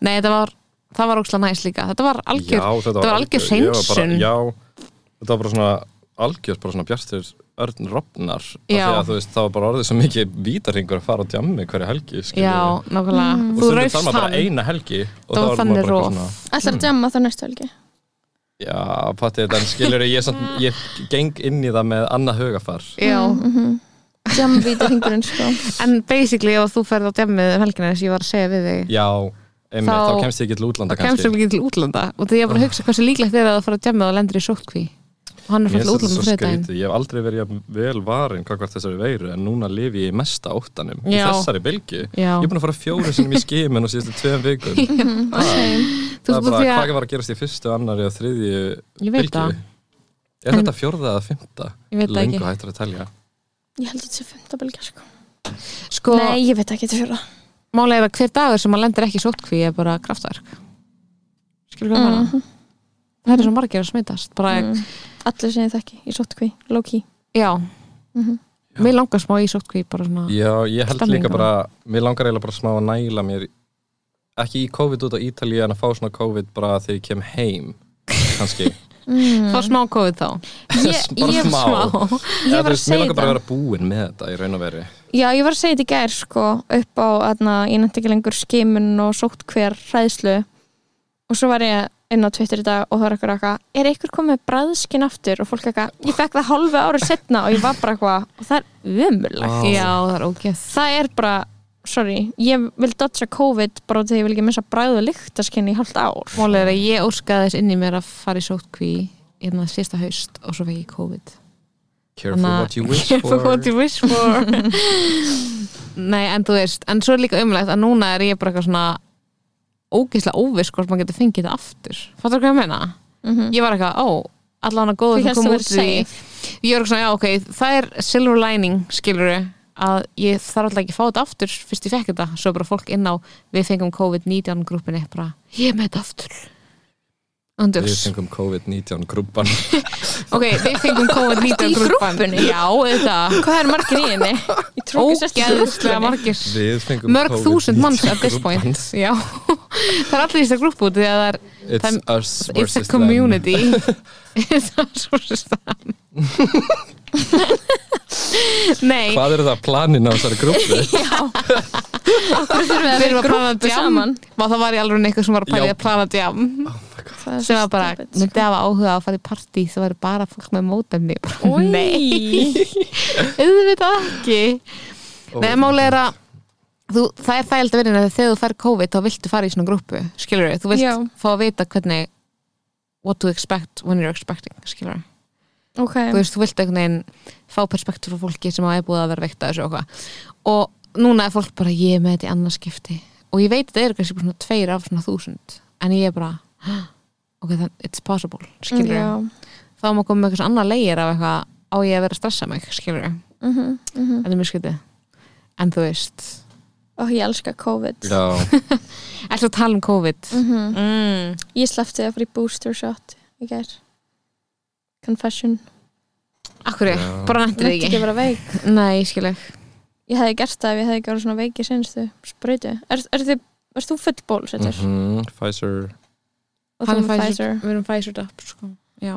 nei, þetta var það var ókslega næst líka, þetta var algjör
já, þetta
var algjör
ég var bara-
hreinsun.
já, þetta var bara svona algjör, bara svona bjartir örn rofnar
Já.
veist, það var bara orðið svo mikið vítarhingur að fara á djammi hverja helgi skilurðu.
já,
og
nákvæmlega, þú
stundum
raufst
þarf maður bara
hann
eina helgi og
Það
þá
var
var
þannig
maður bara
rof.
eitthvað svona
ætlar að jamma þá næstu helgi
já, patti þetta, en skilur ég, samt,
(laughs)
ég geng inn í það með annað hugafar
já,
jamvít og hingurinn
(laughs)
sko
en basically ef þú ferð á djemmið um helgina þess að ég var að segja við þig
já, einmitt,
Þá-
þá, kemst ég ekki til útlanda
það kemst
kannski
það ekki til útlanda og þegar ég er bara að hugsa hversu líklegt er að það fara að djemma og lendur í sótkví og hann er
Mér
fyrir til
finnst þetta
útlanda
svo
þriðdægin
skrítið, ég hef aldrei verið jafn vel varin hvað þessari veiru en núna lifi ég í mesta óttanum í
Já.
þessari bylgi
Já.
ég er búin að fara fjóru sinum í skimin og síðustu tveim
(laughs)
vikum
þú
það er
veist
bara
því
hvað
að,
var að gerast í fyrstu, annari og þriðju
ég veit það
er þetta fjórða eða fymta?
Ég veit það
lengu
ekki.
hættur að telja
ég held að þetta sé fymta belgja sko
sko,
nei, ég veit ekki þetta fjóra
málega er að hver dagur sem hann lendur ekki í sótkví er bara kraftverk skilur hvað mm.
Mhm.
það er svo margir að smitast bara,
Mm. allir sem ég þekki, ég sótt hví, low key
já,
Mhm.
mér langar smá í sótkví bara svona,
já, ég held
Stemning
líka
bara.
bara, mér langar eiginlega bara smá að næla mér ekki í COVID út á Ítalíu en að fá svona COVID bara þegar ég kem heim
(laughs)
kannski, Mm.
Mhm.
fá smá COVID þá
Ég-
bara
ég-
smá
smá,
ég
Eða,
var
þú veist,
að
mér langar bara
segja
að
þetta.
vera búin með þetta í raun og veri
já, ég var að segja þetta í gær sko upp á, aðna, ég nætti ekki lengur skimun og sótt hver hræðslu og svo var ég inn á Twitter í dag og það er eitthvað eitthvað er eitthvað komið með bræðskin aftur og fólk eitthvað, ég fekk það hálfu árið setna og ég var bara eitthvað og það er umurlegt
Vá.
Já, það er ógeð
það er bara, sorry, ég vil dodja COVID bara út af því ég vil ekki missa bræðu lyktaskinn í hálft ár
Málið er að ég óskaði þess inn í mér að fara í sótkví hérna sísta haust og svo fekk ég COVID
Careful
Þannig að-
what you
(laughs)
wish
Careful
for
what you wish for
(laughs)
Nei, en þú veist en svo er líka umlegt að núna er ég bara eitthvað svona ógeðslega óviss hvort maður getur fengið þetta aftur Fattar hvað ég meina? Ég var eitthvað, ó, allan að góða
Þú
sem
hélst
kom
þú
út úr
verið
því Ég var eitthvað svona, já, ok, það er silver lining, skilur að ég þarf alltaf ekki að fá þetta aftur fyrst ég fekk þetta, svo er bara fólk inn á við fengum COVID-19 grúppinni bara, ég er með þetta aftur
Við
Andjóks
fengum COVID-19 grúpan
(laughs) Ok, við fengum COVID-19
Í
grúppan
grúppunni?
Já, þetta
Hvað er margir í henni? Ég trú ekki sérst í
Ógeðslega
grúppunni.
margir
Við fengum
Mörg þúsund manns at this
grúbban.
point Já, það er allir í þessar grúppu því að það er
It's
Það-
us
It's a
versus them (laughs)
community It's us versus them Nei,
Hvað eru það planin á þessari
(laughs)
grúpu?
við erum að plana
grúppu
jam
saman?
Vá, það var í alveg eitthvað sem var að pæla í
Já.
að plana jam
Það er
sem
svo
var bara,
stupid, sko.
myndi hafa áhuga á að fara í partí það væri bara fólk með mótemni
Oj.
Nei, auðvitað ekki Nei, máli er að þú, það er þægild að verðina þegar þegar þú fær COVID þá viltu fara í svona grúpu, skilur við þú vilt
Já.
fá að vita hvernig what to expect when you're expecting, skilur við
Ok,
þú veist, þú vilt einhvern veginn fá perspektíf frá fólki sem hafa búið að vera veikt að þessu og hvað og núna er fólk bara, ég er með þetta í annarskipti og ég veit að það eru kannski bara svona tveir af svona þúsund, en ég er bara "Huh, ok, then it's possible, skilur
já
þá má koma með eitthvað annað leir af eitthvað á ég að vera að stressa mig, skilur
Mhm, mhm.
þetta er mjög skytið, en þú veist
Ó, ég elska COVID
Já,
Ætlum að tala um COVID
Mhm.
mm.
Ég sleppti að fara í booster shot í gær Confession
Akkur ég,
Já.
bara nættir
Nefndi
þig
ekki
ekki
að vera veik
Nei, skilja
Ég hefði gert það ef ég hefði ekki verið svona veik í senstu Sprautu Er, er, þið, er þú full bólusettur?
Mhm, Pfizer
Og þú
Hann
með
er
Pfizer
Við erum Pfizer up sko. Já.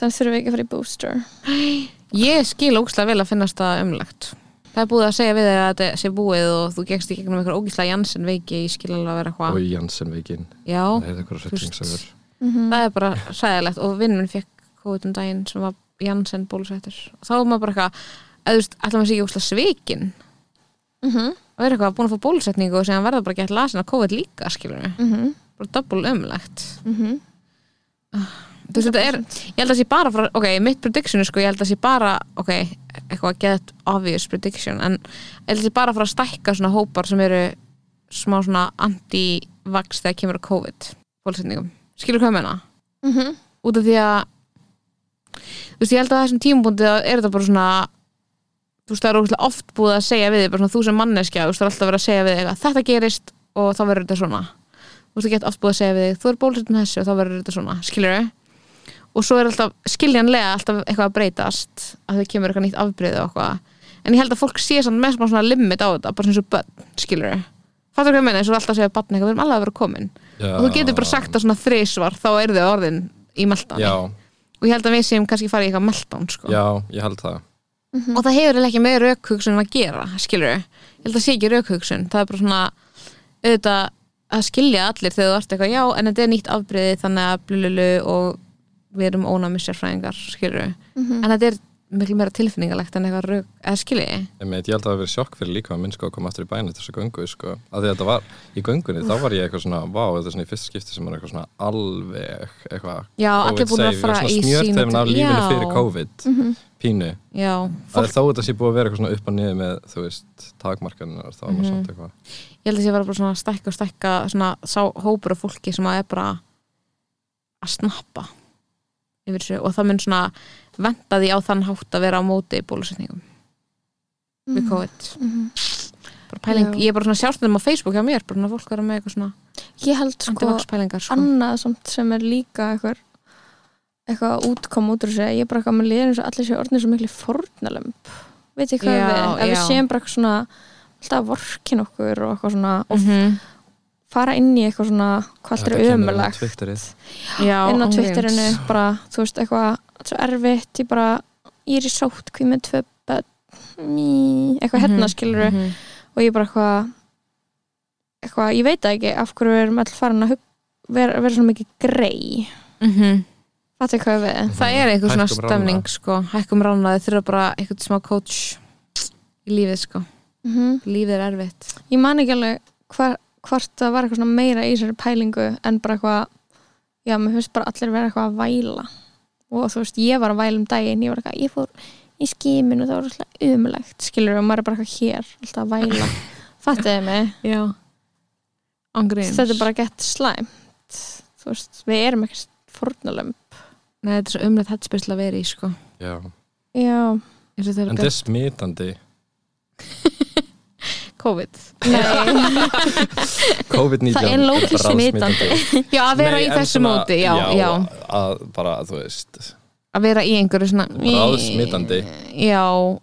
Þannig þurfum við ekki að fara í booster
Ég skil ógislega vel að finnast það umlegt Það er búið að segja við þér að þetta sé búið og þú gegst í gegnum eitthvað ógislega Janssen veiki ég skil alveg að vera
og
hvað
Janssen veikinn
Já,
Það er eitthvað hrettingsögur
Pust.
mm
það er bara sæðilegt og vinn minn fekk COVID um daginn sem var Janssen bólusettur og þá er maður bara eitthvað eða þú veist, ætlum að sé ekki ógislega svikin
-hmm.
og er eitthvað búin að fá bólusetningu og segja verða bara gett lasin að COVID líka skilur mig,
Mhm.
bara double umlegt Ah,
Mhm.
þú veist, þetta er, ég held að sé bara frá, ok, mitt prediction er sko, ég held að sé bara ok, eitthvað get obvious prediction en ég held að sé bara frá að stækka svona hópar sem eru smá svona anti-vax þegar kemur að COVID bólusetningum, skilur hvað ég meina?
Mhm.
út af því að þú veist, ég held að á þessum tímabundi þá er þetta bara svona þú veist, það er ógeðslega oft búið að segja við þig bara svona þú sem manneskja, þú veist, það er alltaf verið að segja við þig að þetta gerist og þá verður þetta svona þú veist, það gett oft búið að segja við þig þú er bólusett með þessu og þá verður þetta svona, skilur og svo er alltaf skiljanlega alltaf eitthvað að breytast að það kemur eitthvað nýtt afbreyði og eitthvað en ég held að fólk sé samt með smá svona limit á þetta bara svona svo börn, skilur fattur hvað ég meina, eins og alltaf segja barn eitthvað, við erum alveg að vera komin og þú getur bara sagt það svona þrisvar þá er þau orðin í meltdown
Já,
og ég held að við séum kannski farið í eitthvað meltdown sko.
já, ég held það
og það hefur eiginlega ekki með raukhugsun að gera skilur ég held að sé ekki raukhugsun það er bara svona auðvitað að skilja allir þegar þú ert eitthvað já en þetta er nýtt afbreyði þannig að blululu og við erum ónámi sérfræðingar skilur en þetta er miklu meira tilfinningalegt en eitthvað rauk eða skilji
Einmitt, ég held að það hafi verið sjokk fyrir líka að minn sko að koma aftur í bæin eftir þessu göngu sko. að því að þetta var, í göngunni þá var ég eitthvað svona vá, þetta er svona í fyrsta skipti sem er eitthvað svona alveg eitthvað
Já, allir búin að fara í sínu-
smjörðum af lífinu
Já.
fyrir COVID pínu,
já
að
fólk
þó þetta sé búið að vera eitthvað svona upp og niður með, þú veist, takmarkanir þá var maður
Mhm.
samt eitthvað
ég held að sé bara, bara svona að stækka og stækka svona sá hópur af fólki sem að er bara að snappa yfir þessu og það mun svona venda því á þann hátt að vera á móti bólusetningum við COVID
Mhm.
bara pæling,
Já.
ég er bara svona sjástundum á Facebook hjá mér, bara svona fólk vera með eitthvað svona
Ég held sko
antivax pælingar sko.
annað samt sem er líka eitthvað eitthvað útkom út úr þessu ég er bara eitthvað með liðin eins og allir séu orðin svo miklu fornalömb veit ég hvað
Já,
við erum? að við
já.
séum bara eitthvað svona alltaf vorkin okkur og eitthvað svona og
-hmm.
fara inn í eitthvað svona hvað allt
Þetta
er
kemur inn á
ömulegt
Twitterið.
Já,
inn á
ángríns.
Twitterinu bara þú veist eitthvað allt svo erfitt ég bara ég er í sótt hví með tvö börn Mí, eitthvað hérna
Mhm,
skilur
mhm.
og ég bara eitthvað eitthvað, ég veit það ekki af hverju við erum all farin að hug- vera, vera svona mikið grei
mm
Fattu hvað ég á við?
það er eitthvað svona
Hækkum rána.
stemning sko. hækkum ránaði, þurfa bara eitthvað smá coach í lífið sko.
Mm
lífið er erfitt
Ég man ekki alveg hvar, hvort það var eitthvað svona meira í þessari pælingu en bara eitthvað já, mér finnst bara allir vera eitthvað að væla og þú veist, ég var að væla um daginn ég var eitthvað, ég fór í skimin og það var alltaf umlegt, skilur og maður er bara eitthvað hér, alltaf að væla Fattuðu mig?
já ángríns
Þetta er bara gett slæmt þú veist, við erum ekkert fórnalömb
Nei, þetta er svo umrætt hættspyrsla að vera í sko.
Já.
Já,
eins og
En
þegar
þetta
this...
er smitandi.
COVID
nei
COVID-19
Það er lókið
bara
smitandi.
(laughs) já, að vera
Nei,
í
en
þessu
svona-
móti já, já,
Að bara, þú veist,
að vera í einhverju svona
ráðsmitandi.
já,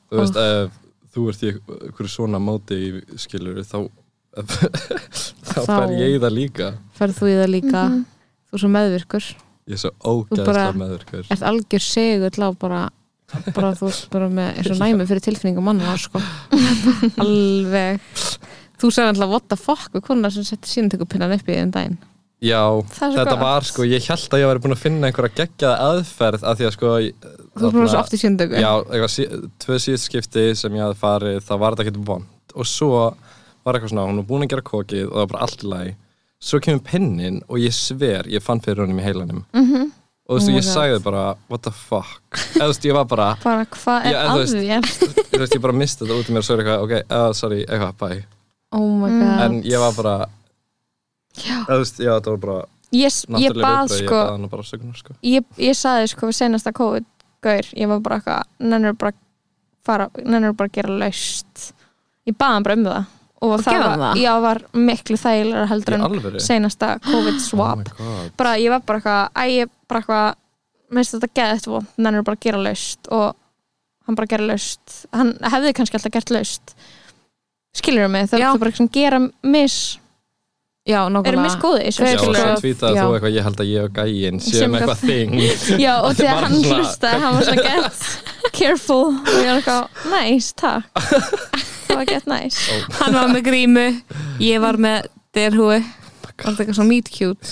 Þú veist, ef þú ert í einhverju svona móti í skilur, þá þá
Þá-
fær ég í það líka.
ferð þú í það líka þú er svo meðvirkur
Ég er svo
bara-
ógæðslega meðurkur.
ert algjör segull á bara, bara þú ert bara með eins og næmi fyrir tilfinningum manna (laughs) sko. alveg þú sagði alltaf what the fuck við konuna sem setti sínumtökupinnan upp í þeim daginn
Já,
er svo
þetta
gott.
var sko, ég held að ég væri búin að finna einhverja geggjaða aðferð af því að sko ég-
þú er bara svo
þarna-
oft í sínumtöku
Já, eitthvað, sí- tvö síðust skipti sem ég hafði farið, það var þetta ekkert vond og svo var eitthvað svona, hún var búin að gera kokið og það var bara allt í lagi svo kemur pennin og ég sver ég fann fyrir honum í heilanum -hmm. og
Oh
þú veist,
my
ég
God.
sagði bara, what the fuck eða þú veist, ég var bara,
bara hvað er
Já, en þú
að
veist-
þér
þú veist, ég bara misti þetta út í mér og svo er eitthvað, ok, uh, sorry, eitthvað, bye
oh my god
en ég var bara já, þú veist, já, þetta var bara
ég, ég
náttúrulega
bað
viðbrögð, ég
sko
bað hann bara söguna, sko
ég, ég saði sko við senasta COVID-gaur ég var bara eitthvað, nennir bara að fara, nennir bara að gera laust ég baði hann bara um það og, það,
gerði
var,
hann það?
Já, var miklu þægilega
í
heldur en
alvöru,
senasta
(gasps) oh my
COVID-swap
god
bara ég var bara eitthvað, æ, ég bara eitthvað mér finnst þetta geðið vond, nennir bara að gera laust og hann bara gera laust hann hefði kannski alltaf gert laust skilur mig, það
Já.
er bara eitthvað sem gera mis,
já,
eru
nákvæmlega
misgóði í
Þau
Já,
þessu,
eru
og
skilurðu.
svo
sko-
tvítið
já.
þú eitthvað, ég held að ég og gæinn
Sem
séum eitthvað þing
Já, og
Þetta
þegar
var
hann
svona-
hlustaði, hann var svona gett careful og ég var eitthvað, nice, takk það var gett nice
hann var með grímu, ég var með derhúi, alltaf eitthvað svona meet cute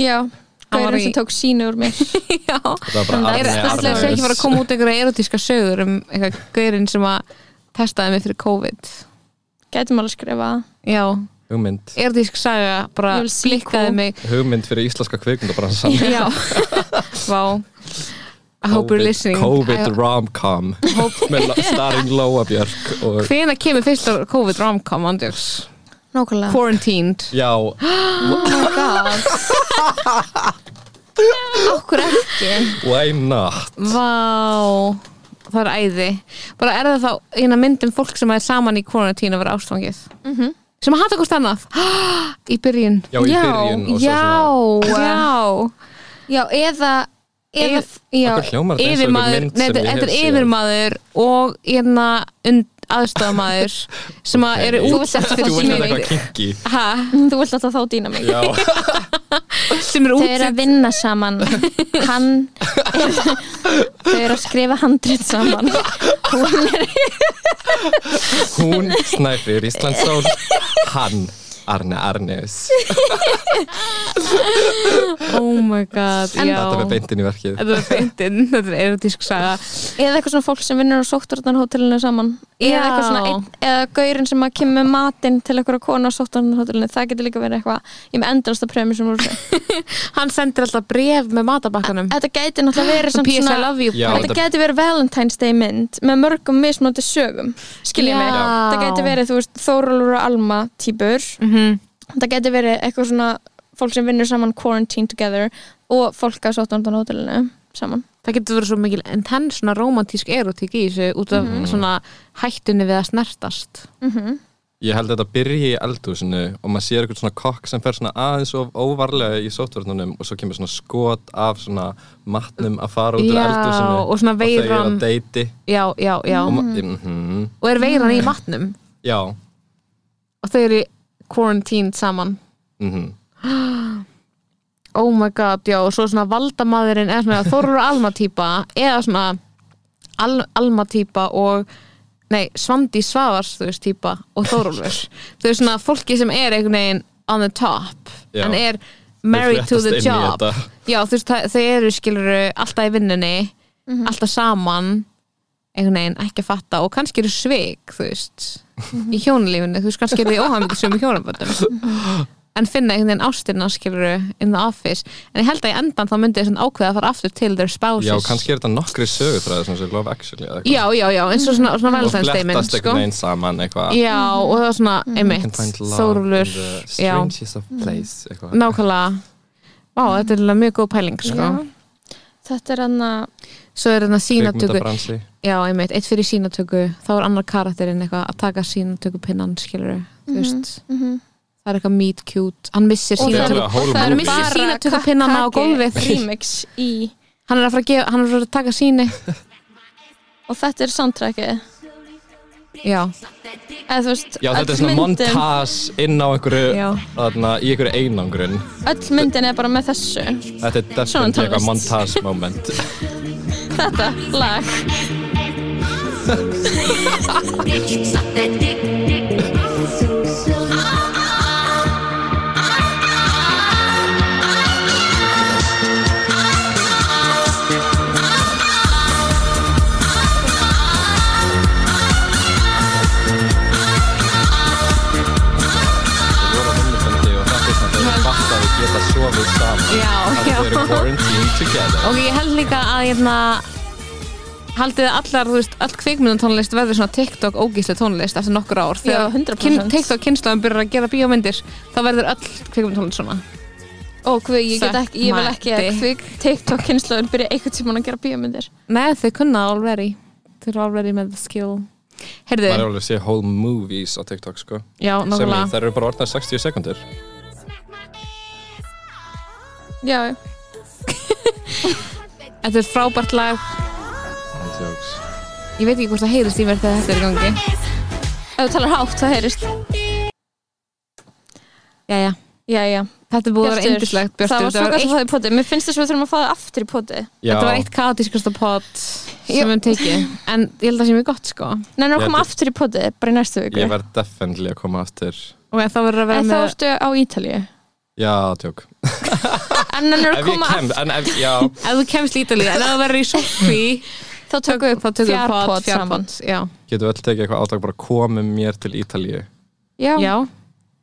Já,
Hann var
gaurinn
í-
sem tók sínu (laughs) úr mér
já,
Þetta var bara
er
En Nei,
Arne
það
alveg
sem ekki
Arnes
var að koma út einhverja erotíska sögur um eitthvað gaurinn sem að testaði mig fyrir COVID
Gætum alveg skrifað
já,
Hugmynd
erotísk saga bara
Ég vil sequel.
blikkaði mig
Hugmynd fyrir íslenska kvikmyndabransan
(laughs) já, (laughs) vá I hope you're listening
COVID rom-com Með la- starring Lóa Björk og,
hvena kemur fyrst að COVID romcom andjöks
Nákvæmlega
quarantined
Já,
Oh my god Okkur ekki
why not?
vá það er æði bara er það þá eina myndum fólk sem er saman í quarantine að vera ástfangið sem að hata hvort annað (gasps) í byrjun
Já, í byrjun og svo svona
já
Já, eða eða, já,
Akkur hljómar þetta eins og einhver
yfirmaður,
mynd
nei,
sem ég
þetta
hef
er
séð
yfirmaður og hérna aðstofamaður sem að eru
Þú
útsett fyrir
Þú veist þetta
vilt
smíði
eitthvað kinky
þú vilt alltaf þá dýna mig
Já,
sem eru
Þau eru að
útsett
vinna saman Hann
(laughs)
Þau eru að skrifa handrit saman Hún er
hún snæfir Íslandsól Hann, Arne Arnes
oh my god, já
Þetta með beintin í verkið
þetta er beintinn, (laughs) þetta er erotísk saga
eða eitthvað svona fólk sem vinnur á sóttvarnarhótelinu saman eða
Já.
eitthvað svona einn, eða gaurinn sem að kemur með matinn til eitthvað konu á sóttvarnarhótelinu það getur líka verið eitthvað ég er með endalasta prömi
(laughs)
sem úr þessu.
hann sendir alltaf bref með matabakkanum
þetta gæti náttúrulega verið samt
PS I
svona
love you
Já,
þetta gæti verið Valentine's Day mynd með mörgum mismöndi sögum skiljið
Já.
mig,
Já.
það gæti verið þú veist, Þórólur og Alma típur
Mhm.
það gæti verið eitthvað svona fólk sem vinnur saman quarantine together og fólk á sóttvarnarhótelinu saman
það getur verið svo mikil intense svona romantísk erotík í þessu út af
Mhm.
svona hættunni við að snertast
Ég held að þetta byrji í eldhúsinu og maður sér eitthvað svona kokk sem fer svona aðeins of óvarlega í sóttvörnunum og svo kemur svona skot af svona matnum að fara út úr
Já,
eldhúsinu
og svona Mhm.
og þeir eru
veiran-
að deiti
já, já, já
og maður, mm -hmm.
og er veiran í matnum
já
og þau eru quarantined saman
mm
oh my god, já, og svo svona valdamaðurinn eða svona Þorur Alma típa eða svona Al Alma típa og nei, Svandi Svavars, þú veist,
(laughs)
típa og Þorulfur, þú veist svona fólki sem er einhvern veginn on the top
Já.
en er married to the
fléttast inn í
job
þetta.
já þú veist það- þau eru skilur alltaf í vinnunni alltaf saman einhvern veginn ekki að fatta og kannski eru sveik þú veist í hjónulífinu, þú veist kannski eru þið óhæmvikið sem í hjónaböndum en finna einhvern veginn ástina skilur in the office en ég held að í endan þá myndi þess að ákveða að fara aftur til their spouses
Já, kannski er þetta nokkri sögutræði sem sé Love Actually eða eitthvað.
já, já, já, eins og svona, svona
og
valentine statement
flettast
sko.
einhvern veginn saman eitthvað
já, og það var svona
You can
emitt,
find love
þórulur
in the
já,
strangest of
Mm.
place eitthvað.
nákvæmlega Vá, þetta er alveg mjög góð pæling sko.
Þetta er hann
Svo er þetta sínatöku
Kvikmyndabransi.
Já, einmitt, eitt fyrir sínatöku þá er annar karakterinn eitthvað að taka sínatöku pinnan, skilur þú veist það er eitthvað meet cute hann missir
Og það
Þetta er
er-
sínatöku
a whole
og það er
movie.
bara
Missir sínatökupinnana á
Kaki
gólfið.
(laughs) remix í
hann er að fara að, gefa, hann er að, fara að taka síni
og þetta er soundtrackið
já,
eða þú veist
Já, þetta
öll
er svona
myndin-
montage inn á einhverju,
Já.
þarna, í einhverju einangrun.
öll myndin er bara með þessu
Þetta er
Svona
definitely eitthvað
tónlist.
montage
(laughs)
moment.
þetta lag
Suck that dick, dick, dick. So, so. Ah, ah, ah, ah.
Þau voru á vinnufundi og þetta er svona þegar þau fatta að þau geta sofið saman.
já, já
Þau eru quarantined together.
og ég held líka að hérna, haldið að allar, þú veist, all kvikmyndantónlist verður svona TikTok ógíslega tónlist eftir nokkur ár
Já,
þegar
100%.
kyn- TikTok kynslaðum byrjar að gera bíómyndir þá verður all kvikmyndantónlist svona
og hvað, ég, get
Suck
ekki, ég vil
my
ekki að
dick.
kvik TikTok kynslaður byrja einhvern tímann að gera bíómyndir
Nei, þau kunna það already Þau eru already með the skill Heyrðu,
Maður er alveg að sé whole movies á TikTok, sko.
já,
Sem í,
nákvæmlega
þær eru bara orðnar 60 sekundur.
já,
Þetta er frábært lag
Jokes.
Ég veit ekki hvort það heyrist í mér þegar þetta er í gangi
ef þú talar hátt það heyrist
Jæja,
já, já,
þetta er búið að vera
Bjartur,
indislegt
það
Björtur,
var svo
þetta var,
gott að
eitt,
fá það í poti mér finnst þess að við þurfum að fá það aftur í poti
Já.
þetta var eitt kaotískasta pod sem
Já.
við höfum tekið En ég held að það sé mjög gott sko
neina
Já,
að koma
þetta-
aftur í poti bara í næstu viku
Ég verð definitely að koma aftur.
Og þá verður að vera
en þá
með
ertu á Ítalíu
Já, tjók.
en hann er
Ef
að
ég
koma
kem,
aftur
en ef, já,
(laughs) Ef þú kemst lítalið, en ef þú verður í soppi
þá tökum við
Þá tökum við
fjárpod
pod,
saman.
fjárpod Já,
getum við öll tekið eitthvað átak bara komið mér til Ítalíu.
já,
já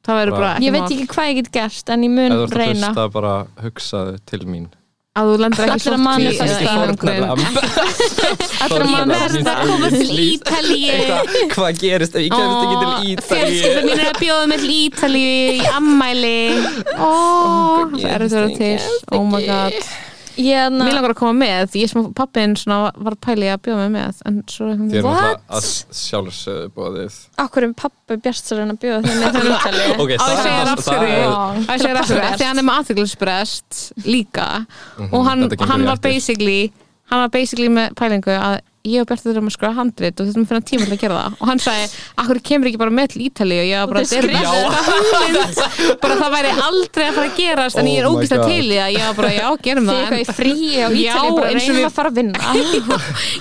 Það verður bara
Bara-
ekki
ég veit
mál.
ekki hvað ég get gert en ég
Ef
mun
þú ert að
reyna
hlusta, bara hugsaðu til mín.
Að þú lendur ekki
Allir að
soppi
manifesta
eða
í
einangrun.
fórnarlamb.
allra
Ég
mann
verð að
koma til Ítalíu
Eitthvað, Hvað gerist ef ég kemst ekki til Ítalíu?
Fjölskylda mín er að bjóða mér til Ítalíu í ammæli Ó, það er þetta verið til Oh my god
ég er
Mér
að
langar að koma með, ég sem pappin svona var pæli að bjóða mig með en svo
Þið erum
What?
alltaf að sjálfsögðu bóðið.
okkur um pappi Bjartsar en að bjóða þig með til Ítalíu
(laughs) Ok,
Á, ég
það,
segi þér af
það
hverju.
er
Á, ég segir aftur
Þetta er
Því hann er með aðteglisbrest líka og hann,
Mhm, þetta gengur
hann
í
var
ættir.
basically hann var basically með pælingu að ég og Bjartur erum að skrifa handrit og þetta er fyrir tíma til að gera það og hann sagði, akkur kemur ekki bara með til Ítalíu og ég var bara,
Og
þetta
þið
er
skrifuðu
hugmynd bara það væri aldrei að fara að gerast en ég er
Oh my
ógist
God.
til í það, ég var bara, já, gerum
Þið
það
eitthvað
en-
í fríi á
Já,
Ítalíu bara
eins og
reynum
við-
að fara að vinna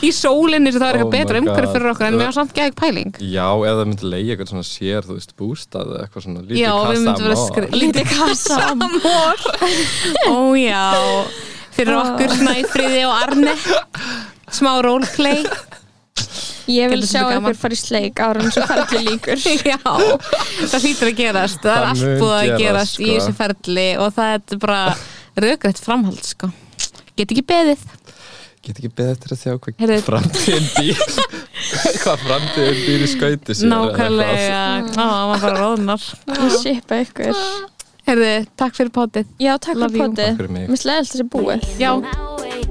(laughs) í sólinni sem það var eitthvað
Oh my
betra
God.
umhverf fyrir okkur en mér var samt gæg pæling
Já, eða myndi leiði eitthvað svona sér, þú veist, bústað eða eitthvað svona lítið
Já, við myndum vera
amor.
skri-
lítið kassa
Samor Ó já Fyrir okkur Snæfríði og Arne Smá roleplay
(laughs) ég vil
Getur
sjá
þetta gaman?
ykkur fara í sleik árum sem ferli líkur
(laughs) Já, það hlýtur að gerast Það, er
Það
allt
mun
búið að
gerast,
gerast í
sko.
þessu ferli og það er bara rökrætt framhald sko. Get ekki beðið
Get ekki beðið eftir að sjá hvað
Heyrðu.
framtíðin býr
(laughs)
hvað framtíðin býr í skauti sér eða eitthvað.
Nákvæmlega Ó, maður bara róðnar
ég shipa
(laughs)
ykkur
Herði, takk fyrir potið
já, takk
Love
fyrir
you.
potið
Takk fyrir mig.
mér slegðist þessi búið
Já,